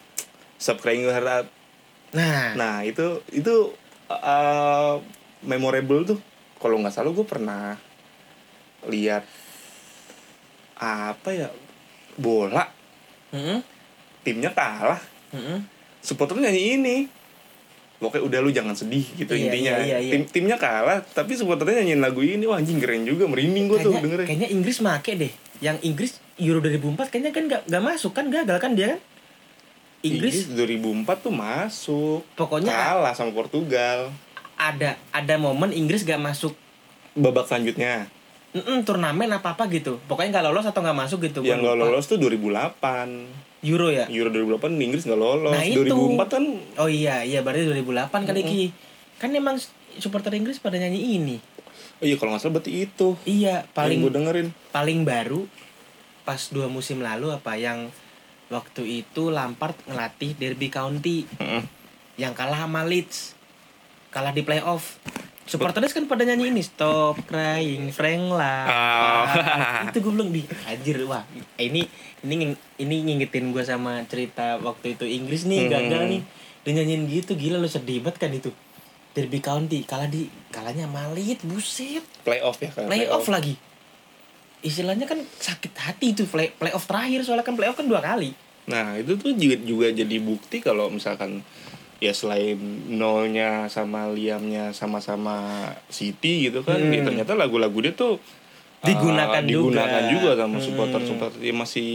Stop Crying Your Heart Out.
nah,
Nah itu itu eh, memorable tuh. Kalau nggak salah gue pernah lihat apa ya bola
hmm,
timnya kalah
hmm.
supporternya nyanyi ini pokoknya udah lu jangan sedih gitu
Iya,
intinya
iya, iya, iya.
tim timnya kalah tapi supporternya nyanyiin lagu ini wah anjing keren juga merinding gue tuh
kayaknya,
dengerin
kayaknya Inggris make deh yang Inggris Euro 2004 kayaknya kan gak, gak masuk kan gagal kan dia kan Inggris
2004 tuh masuk
Pokoknya-
kalah sama Portugal
ada ada momen Inggris gak masuk
babak selanjutnya
mm, turnamen apa apa gitu pokoknya nggak lolos atau nggak masuk gitu gua
yang nggak
lupa.
lolos Iya. tuh 2008
Euro ya
Euro 2008 Inggris nggak lolos.
Nah, itu.
2004 kan
Oh iya, iya berarti 2008 kali Ki. Kan emang supporter Inggris pada nyanyi ini.
oh iya kalau nggak salah berarti itu.
Iya,
Paling
paling
gue dengerin.
paling baru pas dua musim lalu apa yang waktu itu Lampard ngelatih Derby County yang kalah sama Leeds. Kalah di playoff. Supporternya kan pada nyanyi ini Stop Crying Frank lah.
Oh.
itu gue belum di anjir wah ini ini nging- ini ngingetin gue sama cerita waktu itu Inggris
Hmm.
nih gagal nih dia nyanyiin gitu gila lu sedih banget kan itu Derby County kalah di kalahnya malit buset
Playoff ya kan.
playoff lagi istilahnya kan sakit hati itu play playoff terakhir soalnya kan playoff kan dua kali
Nah itu tuh juga, juga jadi bukti kalau misalkan ya selain nolnya sama liamnya sama-sama City gitu kan, ya ternyata lagu-lagu dia tuh ah,
Hmm. Digunakan juga. Hmm.
digunakan juga, sama supporter supporter ya masih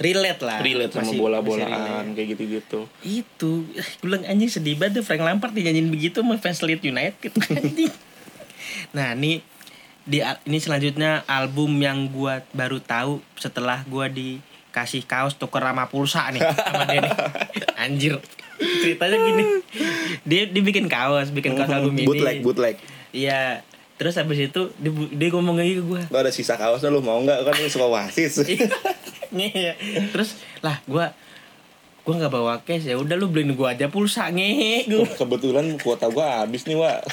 relate lah
relate sama
Masih- masih relate.
bola-bolaan kayak gitu-gitu.
itu gue bilang anjing sedih banget tuh Frank Lampard dinyanyiin begitu sama fans Leeds United anjing nah ini di al- ini selanjutnya album yang gua baru tahu setelah gua dikasih kaos tuker sama pulsa nih sama dia nih anjir
Hmm,
ceritanya gini dia dibikin kaos bikin kaos album ini
Bootleg, bootleg.
Iya, terus habis itu dia, bu- dia ngomong lagi ke gue
Gak ada sisa kaosnya lu mau nggak kan lu suka wasis.
Ngehe. terus lah gue gue nggak bawa cash ya udah lu beliin gue aja pulsa ngehe gue
Kebetulan kuota gua habis nih, Wak.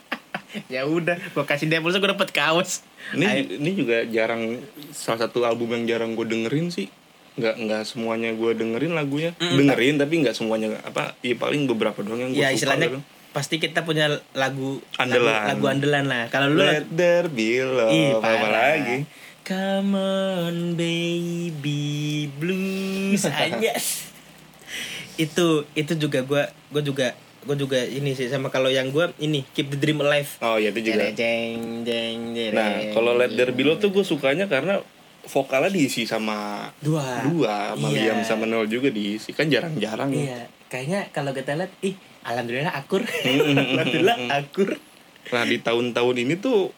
ya udah gue kasih dia pulsa gue dapet kaos
Ini
Ayo.
ini juga jarang salah satu album yang jarang gue dengerin sih. Nggak nggak semuanya gue dengerin lagunya. dengerin tapi nggak semuanya apa? Iya paling beberapa doang yang gue
ya
suka. gitu.
istilahnya
kadang.
pasti kita punya lagu
Andalan.
lagu, lagu andalan lah kalau lu
Let there be love
Ih,
apa
parah.
lagi?
Come on baby blues aja. itu itu juga gua gua juga gua juga ini sih sama kalau yang gua ini Keep the Dream Alive.
Oh iya itu juga.
Jeng jeng jeng jeng.
Nah, kalau Let There Be Love tuh gue sukanya karena vokalnya diisi sama
dua
dua, sama
Iya.
Liam sama Noel juga diisi. Kan jarang-jarang ya.
Iya, kayaknya kalau kita lihat ih alhamdulillah akur. alhamdulillah akur.
Nah, di tahun-tahun ini tuh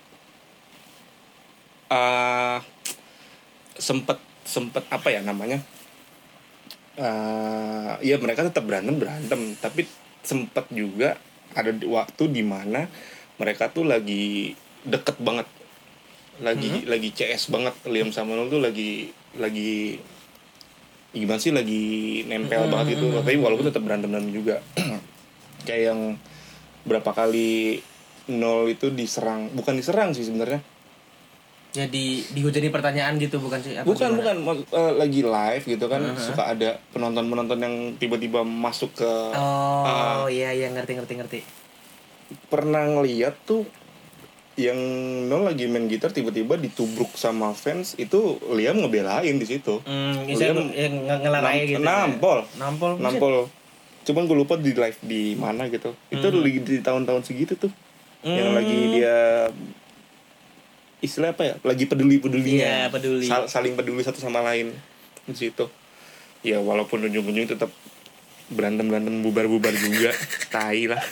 ah sempet sempet apa ya namanya? Ah, Iya mereka tetap berantem berantem, tapi sempet juga ada di- waktu di mana mereka tuh lagi deket banget, lagi lagi CS banget Liam sama Noel tuh lagi lagi gimana sih lagi nempel banget itu, tapi walaupun tetap berantem berantem juga kayak yang berapa kali nol itu diserang bukan diserang sih sebenarnya
Jadi dihujani Ya, pertanyaan gitu bukan sih? Apa
bukan
gimana?
bukan Maksud- eh, lagi live gitu kan suka ada penonton penonton yang tiba-tiba masuk ke Ah.
Oh iya iya ngerti ngerti ngerti.
pernah ngeliat tuh yang nol lagi main gitar tiba-tiba ditubruk sama fans itu Liam ngebelain di situ
Hmm,
Liam
saya yang nge- ngelarang aja
Mm, nam-
gitu.
nampol.
Nampol. buset.
nampol cuman gue lupa di live di mana gitu itu lagi di tahun-tahun segitu tuh yang
Hmm.
lagi dia istilah apa ya lagi peduli
Iya,
pedulinya
peduli.
Sal- saling peduli satu sama lain di situ ya walaupun ujung-ujung tetap berantem berantem bubar bubar juga tai lah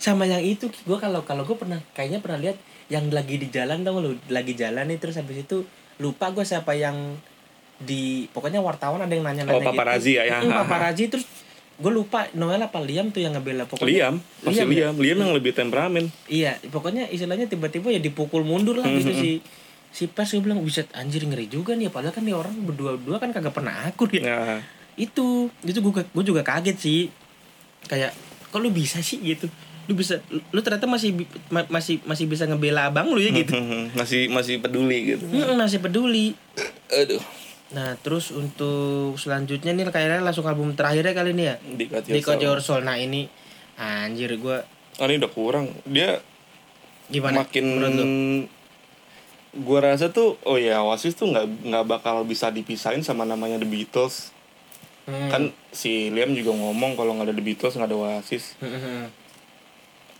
Sama yang itu gue kalau kalau gue pernah kayaknya pernah lihat yang lagi di jalan tau lu lagi jalan nih terus habis itu lupa gue siapa yang di pokoknya wartawan ada yang nanya-nanya
Oh, paparazzi ya, ya.
Hmm, paparazzi terus gue lupa Noel apa Liam tuh yang ngebela pokoknya
Liam
Liam ya?
masih Liam Liam yang lebih temperamen
iya pokoknya istilahnya tiba-tiba ya dipukul mundur lah gitu si si pers gue bilang buset anjir ngeri juga nih padahal kan nih orang berdua-dua kan kagak pernah akur ya
nah,
itu itu gue gue juga kaget sih kayak kok lu bisa sih gitu lu bisa lu, lu ternyata masih bi- ma- masih masih bisa ngebela abang lu ya gitu
masih masih peduli gitu
Mm, masih peduli
aduh
nah terus untuk selanjutnya nih kayaknya langsung album terakhirnya kali ini ya
Dika
Diko
Tirta.
Your Soul. nah ini anjir gue
Ah, ini udah kurang dia
gimana
makin
menurut lu?
gua rasa tuh oh ya Oasis tuh nggak nggak bakal bisa dipisahin sama namanya The Beatles
Hmm.
kan si Liam juga ngomong kalau nggak ada The Beatles nggak ada Oasis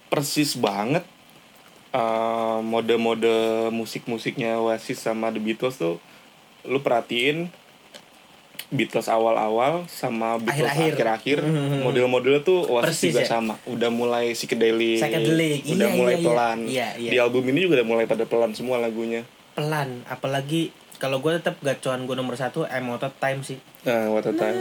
persis banget eh, mode-mode musik-musiknya Oasis sama The Beatles tuh lu perhatiin Beatles awal-awal sama Beatles
Akhir-akhir.
akhir-akhir
Hmm.
model-modelnya tuh
Persis
Oasis juga
ya?
sama udah mulai psychedelic,
Psychedelic,
udah
iya, iya,
mulai
iya.
pelan
Iya, iya.
di album ini juga udah mulai pada pelan semua lagunya
pelan apalagi kalau gue tetap gacuan gue nomor satu I'm out of time sih Gitu
nah what a time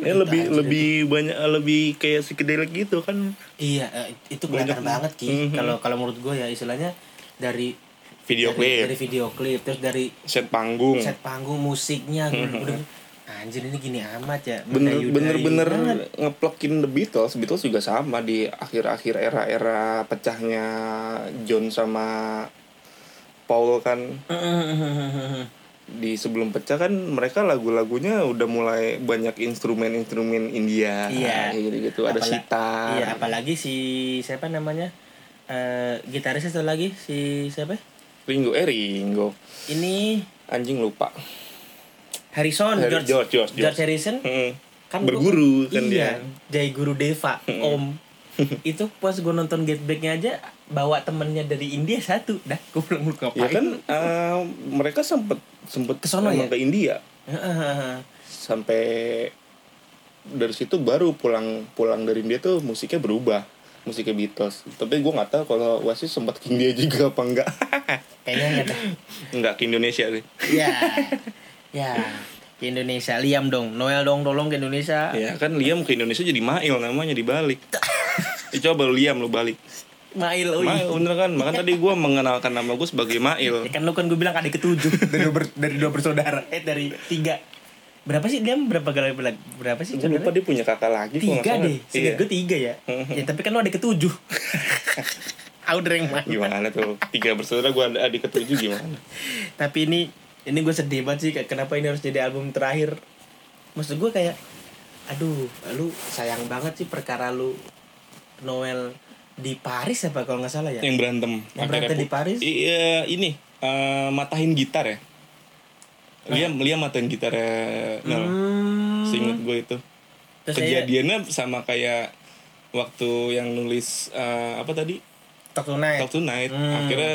ini
Itu
lebih
anjir.
lebih banyak lebih kayak psychedelic gitu kan
Iya, eh, itu kelihatan banget ki. Kalau kalau menurut gue ya istilahnya dari
Mhm. video
dari,
klip Hmm.
dari video klip, terus dari
set panggung
set panggung musiknya, gua udah- anjir ini gini amat ya.
Hmm. bener
Mendayu-dayu
bener bener
banget.
ngeplokin The Beatles Beatles juga sama di akhir-akhir era-era pecahnya John sama Paul kan di sebelum pecah kan mereka lagu-lagunya udah mulai banyak instrumen-instrumen India
Iya.
kayak Ah, gitu-gitu ada
Apala-
sitar
Iya, apalagi si siapa namanya Eh gitaris satu lagi si siapa?
Ringo eh Ringo
Ini
anjing lupa
Harrison
Harry-
Kan George
George, George, George.
Harrison
Mm.
kan gua-
berguru
iya,
kan dia Hmm.
Jai Guru Deva, Om. itu pas gue nonton Get Back-nya aja bawa temennya dari India satu dah gue bilang lu ngapain
ya kan eh, mereka sempet sempet
Ah, Ke sono
emang
ya?
ke India
Heeh.
sampai dari situ baru pulang pulang dari India tuh musiknya berubah musiknya Beatles tapi gue nggak tahu kalau Oasis sempat ke India juga apa enggak
kayaknya enggak dah
nggak ke Indonesia deh
ya ya ke Indonesia Liam dong Noel dong tolong ke
Iya.
Indonesia
ya kan Liam ke Indonesia jadi Mail namanya dibalik Ya, coba lu Liam lu balik
Mail, oi.
Mail bener kan Makanya tadi gue mengenalkan nama gue
Ya
sebagai Mail
kan lu kan gue bilang adik ketujuh.
dari dua, ber- dari dua bersaudara
eh dari tiga. Berapa sih dia berapa kali bilang? Berapa sih?
Gue lupa dia punya kakak lagi kalau nggak
tiga
salah.
deh. Seingat
Iya.
gue tiga ya. ya tapi kan lu adik ketujuh. Aku dari yang mana?
Gimana tuh Tiga bersaudara gue ada adik ketujuh gimana
tapi ini ini gue sedih banget sih kayak kenapa ini harus jadi album terakhir maksud gue kayak aduh lu sayang banget sih perkara lu Noel di Paris apa kalau nggak salah ya
Yang berantem
Yang
Akhirnya
berantem di
pu-
Paris?
Iya ini eh, Matahin gitar ya Liam, Liam matahin gitar ya
Nah. Hmm.
Seinget gue itu
Terus
Kejadiannya sama kayak Waktu yang nulis eh, Apa tadi?
saya, talk tonight
Talk Tonight
Hmm.
Akhirnya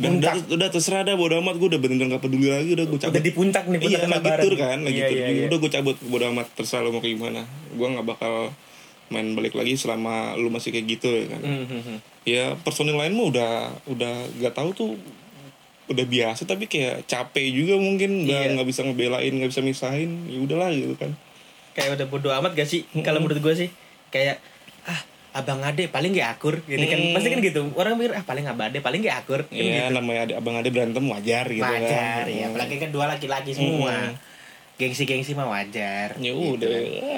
dan udah,
Puncak.
udah terserah dah bodo amat gue udah bener-bener gak peduli lagi udah gue cabut
udah di puncak nih puncak
iya lagi
lebaran.
tur kan lagi
Iya,
tur
iya,
Gini,
iya.
udah gue cabut bodo amat terserah lo mau kayak gimana gue nggak bakal main balik lagi selama lu masih kayak gitu ya kan
Hmm, hmm, hmm.
ya personil lain mah udah udah gak tahu tuh udah biasa tapi kayak capek juga mungkin udah
Iya.
nggak bisa ngebelain nggak bisa misahin ya udahlah gitu kan
kayak udah bodo amat gak sih kalau menurut gue sih kayak ah abang ade paling gak akur gitu kan
Hmm.
pasti kan gitu orang mikir ah paling abang ade paling gak akur Kan
Iya namanya ada abang ada berantem wajar gitu
wajar
kan
ya
Hmm.
apalagi kan dua laki-laki semua
Hmm.
gengsi-gengsi mah wajar
ya
gitu.
udah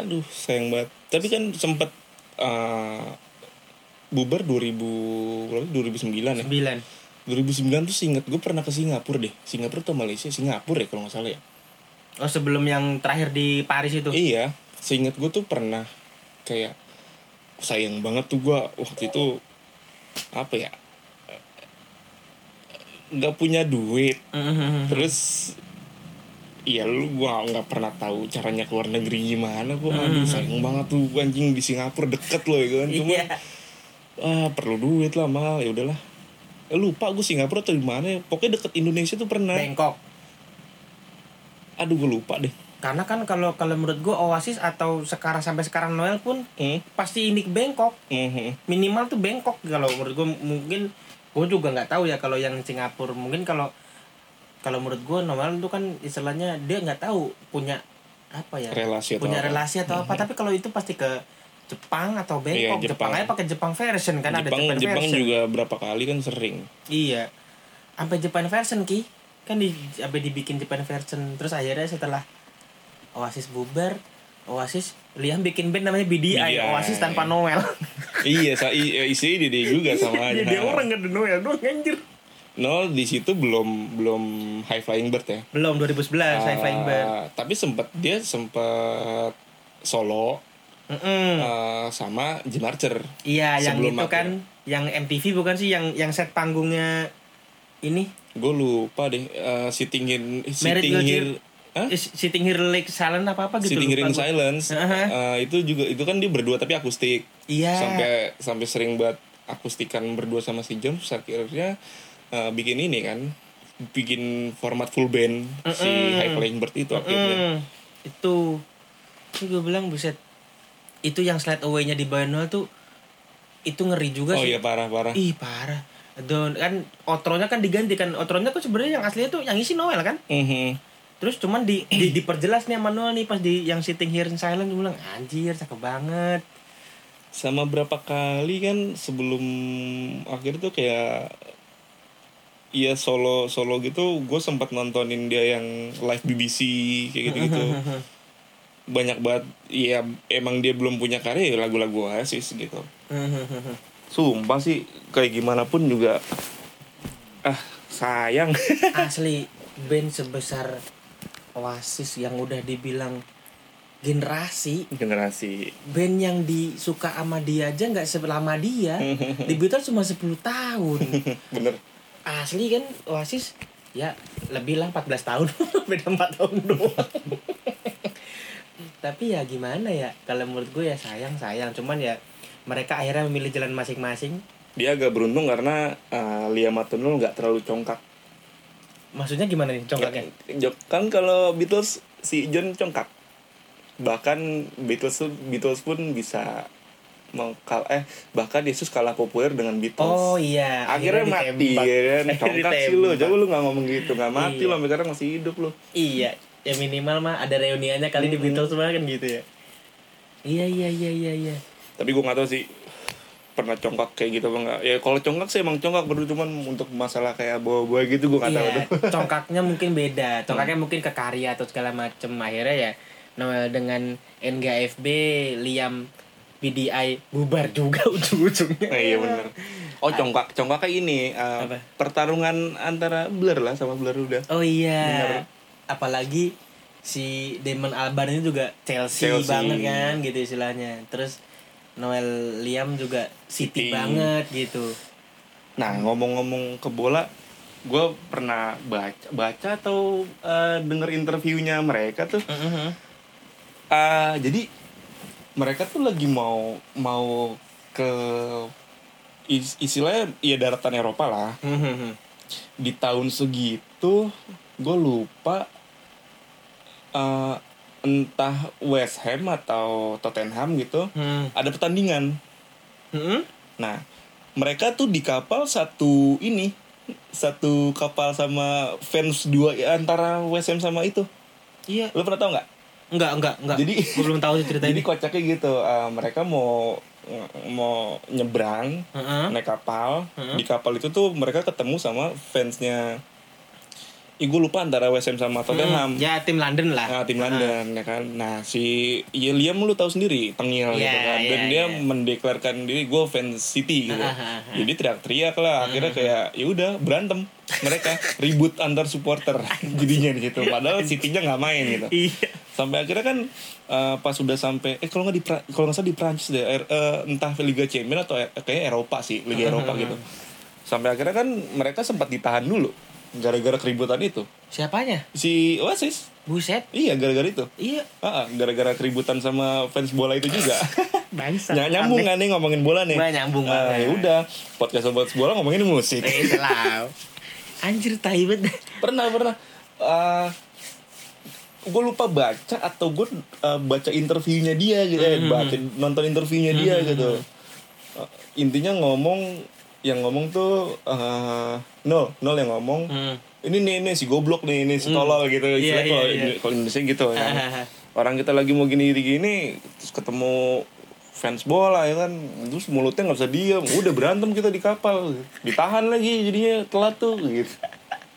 aduh sayang banget tapi kan sempet eh, bubar 2000 berapa 2009 ya
sembilan
2009 tuh seinget gue pernah ke Singapura deh Singapura atau Malaysia Singapura ya kalau nggak salah ya
oh sebelum yang terakhir di Paris itu
iya seinget gue tuh pernah kayak sayang banget tuh gue waktu itu apa ya nggak punya duit
Mhm.
terus Iya lu gua nggak pernah tahu caranya keluar negeri gimana gua aduh sayang banget tuh anjing di Singapura deket loh ya kan cuma
iya
ah perlu duit lah mal ya udahlah Eh, lupa gue Singapura atau di mana ya. pokoknya deket Indonesia tuh pernah
Bangkok
aduh gue lupa deh
karena kan kalau kalau menurut gue Oasis atau sekarang sampai sekarang Noel pun
Hmm,
pasti ini Bangkok
mhm.
minimal tuh Bangkok kalau menurut gue mungkin gue juga nggak tahu ya kalau yang Singapura mungkin kalau kalau menurut gue Noel itu kan istilahnya dia nggak tahu punya apa ya
relasi atau
punya
apa. Mm-hmm.
relasi atau apa tapi kalau itu pasti ke Jepang atau Bangkok
Iya,
Jepang.
Jepang.
aja pakai Jepang version kan ada
Jepang
Jepang
Jepang
version
juga berapa kali kan sering
iya sampai Jepang version ki kan di sampai dibikin Jepang version terus akhirnya setelah Oasis bubar Oasis Liam bikin band namanya BDI,
BDI.
Oasis tanpa Noel
iya sa i- eh, isi dia Iya, dia ya, juga sama aja
Jadi Iya, dia orang nggak ada Noel doang anjir
no di situ belum belum high flying bird ya
belum 2011 saya Flying Bird
Ah, tapi sempat dia sempat solo
Mm-mm.
ah, sama Jim Archer
iya yang
sebelum ya?
itu kan yang MTV bukan sih yang yang set panggungnya ini
gue lupa deh eh, sitting in
Married
sitting
With
here
You.
Hah?
Is- Sitting Here Like Silent apa apa gitu
Sitting Here
lupa
in
gua.
Silence
Aha.
eh, itu juga itu kan dia berdua tapi akustik
Iya.
sampai sampai sering buat akustikan berdua sama si John terus akhirnya eh, bikin ini kan bikin format full band si High Flying Bird itu akhirnya
Hmm, itu itu gue bilang buset itu yang slide away-nya di Noel tuh itu ngeri juga
oh
sih
iya parah parah
ih parah Don kan outronya kan diganti kan outronya kan sebenarnya yang aslinya tuh yang isi Noel kan
Mhm.
terus cuman di, di- diperjelas nih sama Noel nih pas di yang sitting here in silence gue bilang anjir cakep banget
sama berapa kali kan sebelum akhir tuh kayak Iya solo solo gitu, gue sempat nontonin dia yang live BBC kayak gitu gitu. Banyak banget, ya emang dia belum punya karya ya lagu-lagu Oasis gitu. Sumpah sih kayak gimana pun juga ah sayang.
asli band sebesar Oasis yang udah dibilang generasi
Generasi.
band yang disuka sama dia aja nggak selama dia
Hmm.
di Beatles cuma 10 tahun
Bener.
asli kan Oasis ya lebih lah 14 tahun beda 4 tahun doang tapi ya gimana ya kalau menurut gue ya sayang sayang cuman ya mereka akhirnya memilih jalan masing-masing
Dia agak beruntung karena eh, Liam Matunul nggak terlalu congkak.
maksudnya gimana nih congkaknya
Jok- Kan kalau Beatles si John congkak. Bahkan Beatles tuh- Beatles pun bisa mengkal eh bahkan Yesus kalah populer dengan Beatles.
oh iya
akhirnya, mati
ditembak.
ya kan
Akhirnya
congkak sih
ditembak.
lu coba lu nggak ngomong gitu nggak mati
Iya.
lo sampai sekarang masih hidup lo
iya ya minimal mah ada reuniannya kali
Hmm.
di Beatles semua kan gitu ya iya iya iya iya iya
tapi gue nggak tahu sih pernah congkak kayak gitu apa enggak ya kalau congkak sih emang congkak berdua cuman untuk masalah kayak bawa-bawa gitu gue nggak tahu
Iya,
tuh Hmm.
congkaknya mungkin beda. Congkaknya mungkin ke karya atau segala macem. Akhirnya ya Noel dengan NGFB, Liam BDI bubar juga ujung-ujungnya.
Nah, iya bener oh congkak congkak kayak ini eh,
Apa?
pertarungan antara blur lah sama blur udah
Oh iya.
Bener.
Apalagi si Damon Albarn ini juga Chelsea,
Chelsea.
banget kan gitu istilahnya. Terus Noel Liam juga City,
City.
banget gitu.
Nah
Hmm.
ngomong-ngomong ke bola, gue pernah baca baca atau eh, denger interviewnya mereka tuh. Mm-hmm. Ah, jadi mereka tuh lagi mau mau ke is- istilahnya ya daratan Eropa lah. Mm-hmm. Di tahun segitu gue lupa eh, entah West Ham atau Tottenham gitu
Hmm.
ada pertandingan.
Hmm?
Nah, mereka tuh di kapal satu ini, satu kapal sama fans dua antara WSM sama itu.
Iya.
Lo pernah tau nggak?
Enggak, enggak, enggak.
Jadi-
Gua belum tahu sih cerita
Jadi
ini.
kocaknya gitu, eh, mereka mau mau nyebrang
Heeh.
naik kapal.
Heeh.
Di kapal itu tuh mereka ketemu sama fansnya. Ih, gue lupa antara WSM sama Tottenham.
Ya tim London lah.
Nah, tim London ya kan. Nah, si ya Liam lu tahu sendiri tengil gitu
Iya,
kan. Dan
iya,
dia
iya.
mendeklarkan diri gue fans City gitu. Jadi teriak-teriak lah akhirnya
Hmm,
kayak ya udah berantem mereka ribut antar supporter jadinya di situ padahal City-nya nggak main gitu.
Iya.
Sampai akhirnya kan eh, pas sudah sampai eh kalau nggak di Pra- kalau nggak salah di Prancis deh er- eh, entah Liga Champions atau kayak Eropa sih, Liga Eropa gitu. Sampai akhirnya kan mereka sempat ditahan dulu gara-gara keributan itu.
Siapanya?
Si Oasis
Buset.
Iya gara-gara itu.
Iya.
Ah, ah, gara-gara keributan sama fans bola itu juga.
Bangsa.
Ny- nyambung kan nih ngomongin bola nih.
Nah, nyambung
Ah,
banget.
ya udah, podcast sobat bola ngomongin musik.
Eh, selau. Anjir tai banget.
pernah pernah. Ah, gue lupa baca atau gue ah, baca interviewnya dia gitu, eh, baca nonton interviewnya dia gitu. Ah, intinya ngomong yang ngomong tuh ah, nol nol yang ngomong.
Hmm.
Ini nih ini si goblok nih ini si tolol gitu.
Iya,
Istilahnya kalau
iya, iya.
Indo- kalau Indonesia gitu ya.
Hahaha.
orang kita lagi mau gini gini terus ketemu fans bola ya kan terus mulutnya nggak bisa diam udah berantem kita di kapal ditahan lagi jadinya telat tuh gitu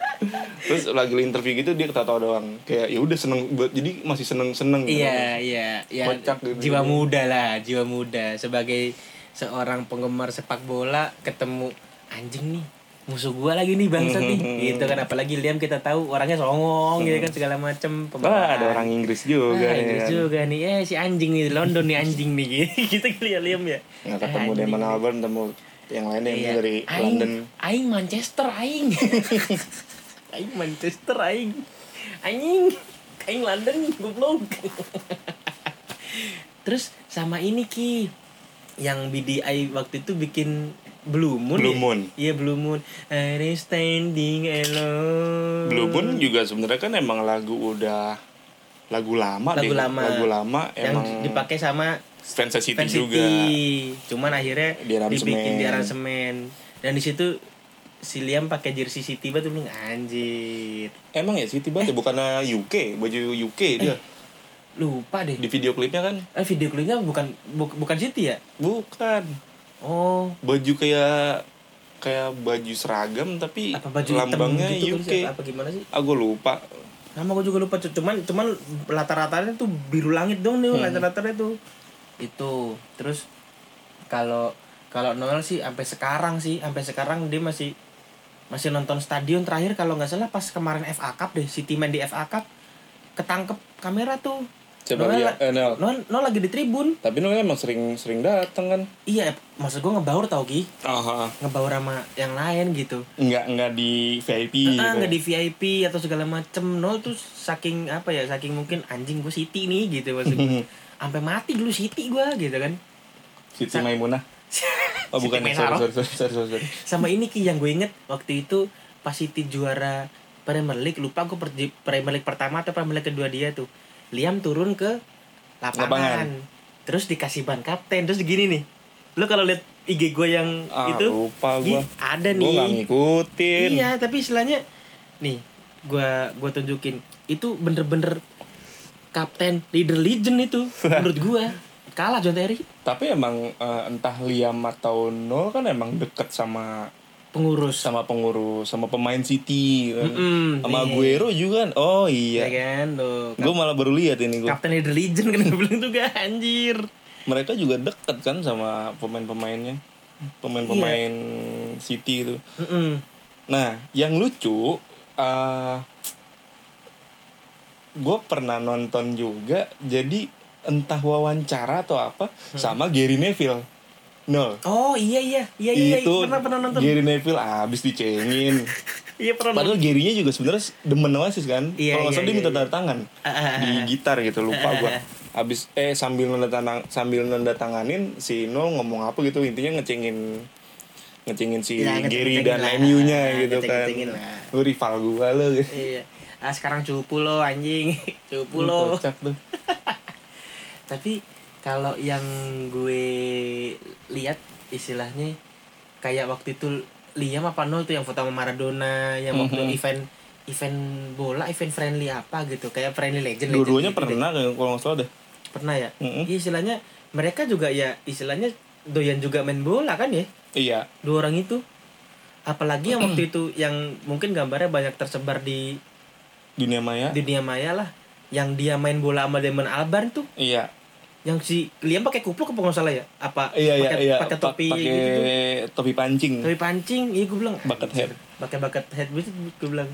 terus lagi interview gitu dia ketawa doang kayak ya udah seneng buat- jadi masih gitu. seneng seneng
Iya, iya, iya.
Kocak gitu.
Jiwa muda lah, jiwa muda sebagai seorang penggemar sepak bola ketemu anjing nih musuh gua lagi nih bangsa nih
Hmm.
gitu kan apalagi Liam kita tahu orangnya songong gitu kan segala macem
Wah, ada
pembelaan.
orang Inggris juga
Ah,
ya
Inggris
kan.
juga nih eh si anjing nih London nih anjing nih gitu kali ya Liam ya
Nah, ketemu
Ah,
Damon Albarn ketemu yang lainnya yang
Iya.
dari
aing,
London
Aing Manchester aing. aing Manchester aing. Anjing. Aing London goblok. Terus sama ini Ki yang BDI waktu itu bikin Blue Moon.
Blue
ya?
Moon.
Iya Blue Moon. I am standing alone.
Blue Moon juga sebenarnya kan emang lagu udah lagu lama
Lagu
deh
lama.
lagu lama
yang
emang
dipakai sama
fans City
Fan
juga
City. Cuman akhirnya
Di aransemen.
dibikin di aransemen. Dan di situ si Liam pakai jersey City banget lu bilang, anjir.
Emang ya sih tiba
Eh.
ya bukannya UK, baju UK dia.
Lupa deh.
Di video klipnya kan?
Eh video klipnya bukan bu- bukan City ya?
Bukan.
Oh,
Baju kayak kayak baju seragam tapi
apa baju hitam
lambangnya
gitu
UK.
kali sih? Apa gimana sih?
Aku lupa.
Nama gue juga lupa Cu. cuman cuman rata-ratanya tuh biru langit dong nih rata-ratanya tuh. Hmm. Itu. Terus kalau kalau Noel sih sampai sekarang sih, sampai sekarang dia masih masih nonton stadion terakhir kalau nggak salah pas kemarin FA Cup deh, City main di FA Cup ketangkep kamera tuh.
Coba
Noel,
lihat eh, Nel.
Noel, Noel lagi di tribun.
Tapi Noel emang sering sering datang kan?
Iya, maksud gue ngebaur tau Ki,
Aha.
ngebaur sama yang lain gitu.
Enggak enggak di VIP
ah
gitu.
nggak di VIP atau segala macem nol tuh saking apa ya saking mungkin anjing gue Siti nih gitu maksud gue sampai mati dulu Siti gue gitu kan
Siti Maimunah. Oh bukan
Siti
ya, sorry,
Menaro.
sorry, sorry, sorry, sorry, sorry.
sama ini ki yang gue inget waktu itu pas Siti juara Premier League lupa gue per- Premier League pertama atau Premier League kedua dia tuh Liam turun ke lapangan,
Lapangan.
terus dikasih ban kapten terus gini nih lo kalau lihat IG gue yang
Ah,
itu
lupa
ih,
gua.
ada nih
Gua nggak ngikutin.
Iya, tapi istilahnya nih gua gua tunjukin itu bener-bener kapten leader legend itu menurut gua. kalah John Terry
Tapi emang eh, entah Liam atau Nol kan emang deket sama
pengurus
sama pengurus, sama pemain City, kan.
Mm-mm, iya.
sama
nih.
Aguero juga kan. Oh
ya
iya.
kan tuh
Gue malah baru lihat ini gue.
Kapten Leader Legend kan gue bilang juga anjir
Mereka juga deket kan sama pemain-pemainnya, pemain-pemain City itu.
Mm-mm.
Nah, yang lucu, gue pernah nonton juga. Jadi entah wawancara atau apa
Hmm.
sama Gary Neville. Nol.
oh iya iya iya iya
itu
pernah pernah nonton
Gary Neville abis dicengin.
iya pernah nonton.
Padahal Garynya juga sebenarnya demen Oasis kan.
Iya,
Kalau nggak salah
iya,
dia minta
iya.
tanda tangan
ah.
di gitar gitu lupa gue. Abis eh sambil nanda tangan sambil nanda tanganin si Nol ngomong apa gitu intinya ngecengin ngecengin si
Ya, ngeceng- ngecengin
Gary dan
lah.
MU-nya gitu
Ngeceng-
kan.
ngecengin lah.
Lu rival gua lu.
iya ah sekarang cupu lo anjing cupu
Lu
lo
kocak tuh.
tapi kalau yang gue lihat istilahnya kayak waktu itu Liam apa Nol tuh yang foto sama Maradona yang waktu
Mhm.
event event bola event friendly apa gitu kayak friendly legend legend
Dua-duanya
gitu deh.
pernah kan kalau nggak salah deh.
pernah ya
Mhm.
Iya, istilahnya mereka juga ya istilahnya doyan juga main bola kan ya
Iya.
dua orang itu apalagi yang waktu itu yang mungkin gambarnya banyak tersebar di
Dunia maya.
dunia maya lah yang dia main bola sama Damon Albarn tuh
Iya.
yang si Liam pakai kupluk apa nggak salah ya apa
Iya iya
pakai
iya.
pakai
Pa-
topi
pakai
gitu tuh.
topi pancing.
topi pancing iya gue bilang
Bucket hat.
pakai bucket head gitu gue bilang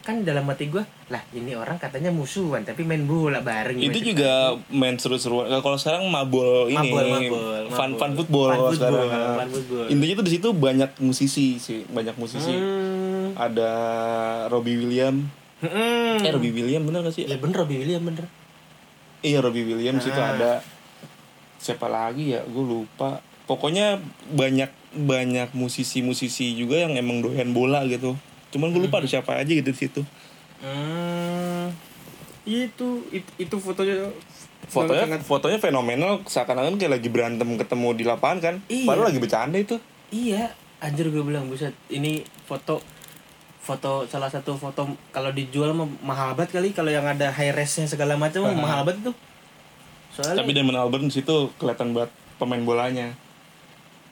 kan dalam hati gue lah ini orang katanya musuhan tapi main bola bareng gitu.
itu
Main-
juga main seru-seruan Nah, kalau sekarang mabol ini
Mabol, mabol,
fun
mabol.
fun football
Fun
kalau
football,
sekarang
fun football.
intinya tuh di situ banyak musisi sih banyak musisi
Hmm.
ada Robbie William
Hmm.
eh Robbie William bener gak sih
ya bener Robbie William bener
iya Robbie William situ
Ah.
ada siapa lagi ya gue lupa pokoknya banyak banyak musisi-musisi juga yang emang doyan bola gitu cuman gue lupa ada siapa aja gitu di situ
Hmm. Itu it- itu fotonya
fotonya fotonya fenomenal seakan-akan kayak lagi berantem ketemu di lapangan kan
Iya.
padahal lagi bercanda itu
Iya, anjir gue bilang buset. Ini foto foto salah satu foto kalau dijual mah mahal banget kali kalau yang ada high res-nya segala macam mah mahal banget tuh. Soalnya
Tapi Damon Albarn di situ kelihatan buat pemain bolanya.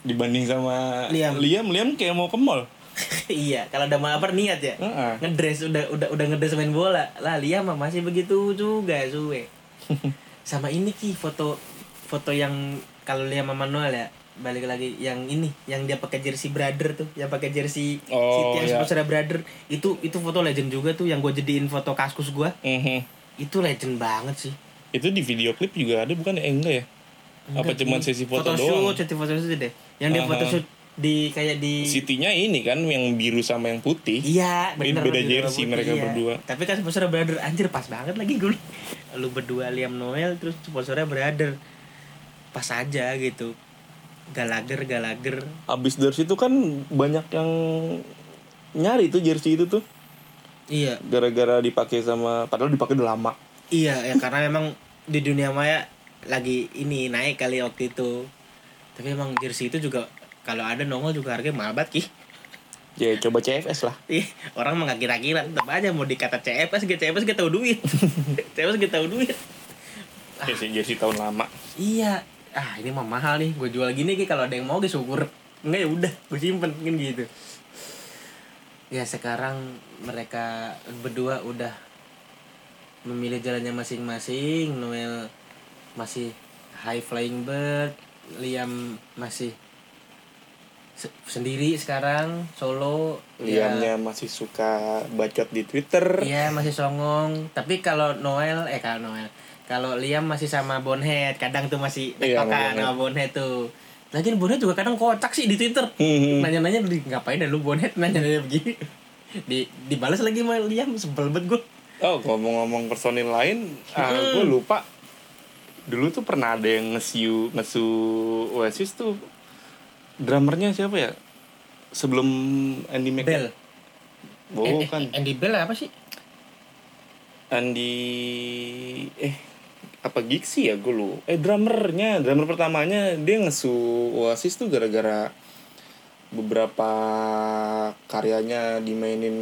Dibanding sama
Liam.
Liam, Liam kayak mau ke mall.
iya, kalau ada apa niat ya.
Heeh.
Ngedress udah udah udah ngedress main bola. Lah Lia mah masih begitu juga suwe. Sama ini Ki foto foto yang kalau Lia sama Manuel ya balik lagi yang ini yang dia pakai jersey brother tuh yang pakai jersey
Oh,
City yang
iya.
sponsor brother itu itu foto legend juga tuh yang gue jadiin foto kaskus gua
Mhm.
itu legend banget sih
Itu di video klip juga ada bukan ya? Eh, enggak ya? Apa
Enggak,
cuman
ini
sesi foto doang?
photoshoot, sesi foto shoot deh yang dia
Aha.
foto shoot di kayak di
City-nya ini kan yang biru sama yang putih.
Iya,
Ini
bener.
beda
Beda
jersey mereka berdua.
Tapi kan sponsornya brother, anjir pas banget lagi gue. Lu berdua Liam Noel terus sponsornya brother. Pas aja gitu. Galager, galager.
Abis dari situ kan banyak yang nyari tuh jersey itu tuh
Iya,
gara-gara dipakai sama padahal dipakai udah lama.
iya ya karena memang di dunia maya lagi ini naik kali waktu itu. Tapi emang jersey itu juga kalau ada nongol juga harganya mahal banget ki.
Ya coba CFS lah.
Ih, orang mah nggak kira-kira tetap aja mau dikata CFS, gak CFS gak tahu duit. CFS gak tahu duit.
Jersey jersey tahun lama.
Iya. Ah, ini mah mahal nih. Gue jual gini Ki. kalau ada yang mau gue syukur. Enggak ya udah, gue simpen kan gitu. Ya sekarang mereka berdua udah memilih jalannya masing-masing. Noel masih high flying bird, Liam masih se- sendiri sekarang solo. Ya,
Liamnya masih suka bacot di Twitter.
Iya masih songong. Tapi kalau Noel eh kalau Noel kalau Liam masih sama Bonhead kadang tuh masih
Iya,
tektokan
sama
sama Bonhead tuh. Lagian Bonhead juga kadang kocak sih di Twitter.
Mhm.
Nanya-nanya "Li, ngapain dah lu Bonhead nanya-nanya begini. Di dibalas lagi sama Liam sebel banget gue.
Oh ngomong-ngomong personil lain, ah,
Hmm.
gue lupa. Dulu tuh pernah ada yang ngesiu ngesu Oasis tuh drummernya siapa ya? Sebelum Andy Mc
Bell. Eh, eh,
bukan
Andy Bell apa sih?
Andy eh apa Gixi ya gue lu? Eh drummernya, drummer pertamanya dia ngesu Oasis tuh gara-gara beberapa karyanya dimainin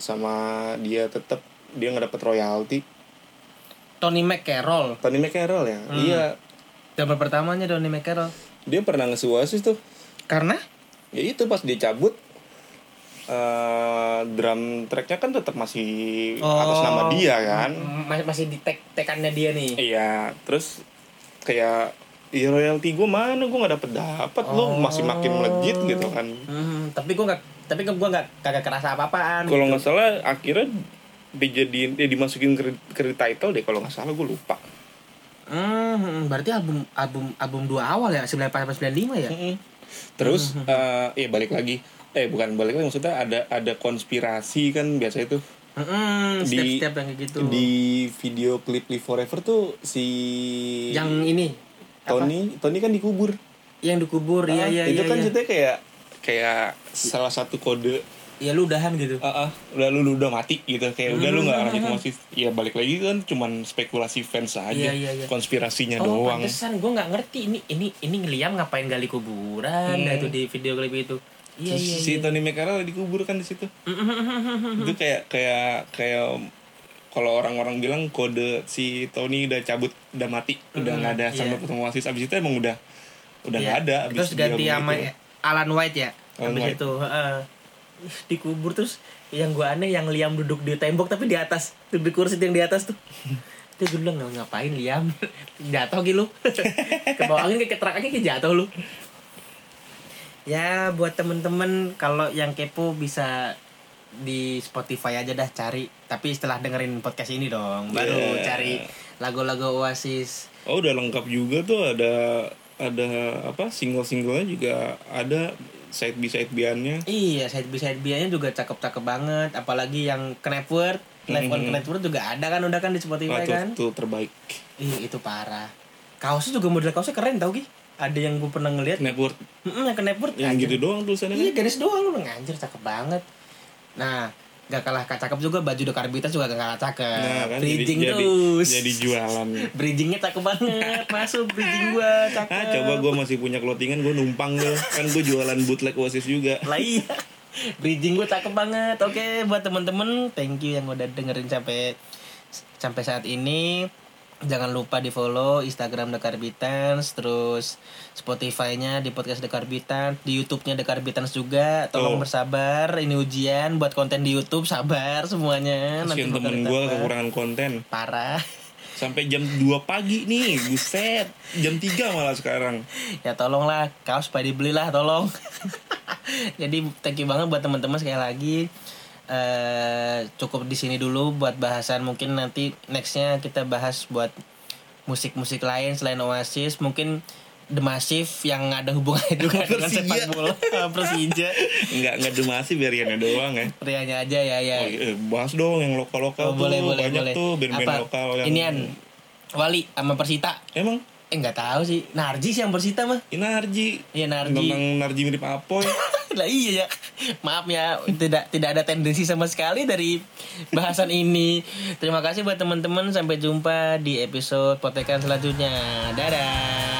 sama dia tetap dia nggak dapet royalti.
Tony McCarroll.
Tony McCarroll ya? Iya.
Cover pertamanya Donny McCarroll.
Dia pernah ngesu Oasis tuh.
Karena
Ya itu pas dia cabut eh drum tracknya kan tetap masih atas
Oh.
nama dia kan.
Hmm,
Masih masih di tek tekannya dia nih.
Iya, terus kayak ya royalti gue mana gue nggak dapet dapet lo masih makin melejit gitu kan
Hmm, tapi gua nggak tapi gua nggak kagak kerasa apa-apaan.
kalau nggak salah akhirnya dijadiin ya dimasukin ke, ke title deh kalau nggak salah gue lupa
Hmm, berarti album album album dua awal ya 94 sampai 95 ya?
Mm-mm. Terus eh ya balik lagi. Eh bukan balik lagi maksudnya ada ada konspirasi kan biasa itu.
Hmm,
Di-
step-step yang kayak gitu.
Di video klip Live Forever tuh si
yang ini
Tony Tony kan dikubur.
yang dikubur
Ah,
iya iya
itu
iya,
kan
iya.
ceritanya kayak kayak salah satu kode
ya lu udahan gitu
ah ah, udah lu, lu udah mati gitu kayak udah
Hmm,
lu nggak lanjut masih ya balik lagi kan cuman spekulasi fans aja
Iya, iya, iya.
konspirasinya
oh
doang
pantesan gue nggak ngerti ini ini ini ngeliam ngapain gali kuburan
Hmm.
dah itu di video klip itu iya
Terus
iya
si
iya
Tony McCarroll dikubur kan di situ itu kayak kayak kayak kalau orang-orang bilang kode si Tony udah cabut udah mati udah nggak ada
iya.
sama ketemu Oasis abis itu emang udah udah
Iya.
nggak ada abis
terus
dia
ganti
begitu.
sama ya? Alan White ya
Alan
habis
White.
itu heeh. Ih, dikubur terus yang gue aneh yang Liam duduk di tembok tapi di atas tuh di kursi yang di atas tuh dia gue bilang "Nggak, ngapain Liam jatuh gitu lu ke bawah angin kayak keterak angin kayak jatuh lu
ya buat temen-temen kalau yang kepo bisa di Spotify aja dah cari. Tapi setelah dengerin podcast ini dong, baru
Yeah.
cari lagu-lagu Oasis.
oh udah lengkap juga tuh ada ada apa single-singlenya juga ada side b side biannya
Iya, side by side B-nya juga cakep-cakep banget, apagi yang Knepworth, Live on
Mhm.
Knepworth juga ada kan udah kan di
Iya
Spotify
itu,
kan?
itu Ah, terbaik
Ih, itu parah. Kaosnya juga model kaosnya keren tau Ki. Ada yang gue pernah ngeliat
network
Mm-mm, yang ke network
yang
anjir.
gitu doang tulisannya
Iya
kan?
garis doang lu anjir cakep banget. Nah, gak kalah cakep juga baju The Carbitas juga gak kalah cakep.
nah kan jadi,
bridging
jadi,
terus.
jadi jualan
Bridgingnya cakep banget. Masuk bridging gua cakep.
ah coba gue masih punya clothingan gue numpang gue kan gue jualan bootleg Oasis juga
Lah iya. Bridging gue cakep banget. Oke, buat temen-temen, thank you yang udah dengerin sampai sampai saat ini. Jangan lupa di follow Instagram The Carbitans, terus Spotify-nya di podcast The Carbitans, di YouTube-nya The Carbitans juga. Tolong
Tuh.
bersabar, ini ujian buat konten di YouTube, sabar semuanya.
Kasian
bakal
temen gue
ditambah.
kekurangan konten
parah.
Sampai jam 2 pagi nih Buset Jam 3 malah sekarang
ya tolonglah kaos pada dibelilah tolong jadi thank you banget buat teman-teman sekali lagi eh cukup di sini dulu buat bahasan mungkin nanti nextnya kita bahas buat musik-musik lain selain Oasis mungkin The Massive yang ada hubungannya juga dengan
Persija.
sepak bola Persija
Nggak ngadu masih biar Riana doang ya
Rianya aja ya ya
oh, eh, Bahas dong yang
Eh.
lokal-lokal
Oh,
tuh Banyak tuh band-band
Apa?
lokal yang
Inian Wali sama Persita
Emang
eh nggak tahu sih Narjis yang Persita mah
Inarji
Iya, Narji.
Tentang Narji mirip Apoy
lah iya ya maaf ya tidak tidak ada tendensi sama sekali dari bahasan ini terima kasih buat teman-teman sampai jumpa di episode potekan selanjutnya dadah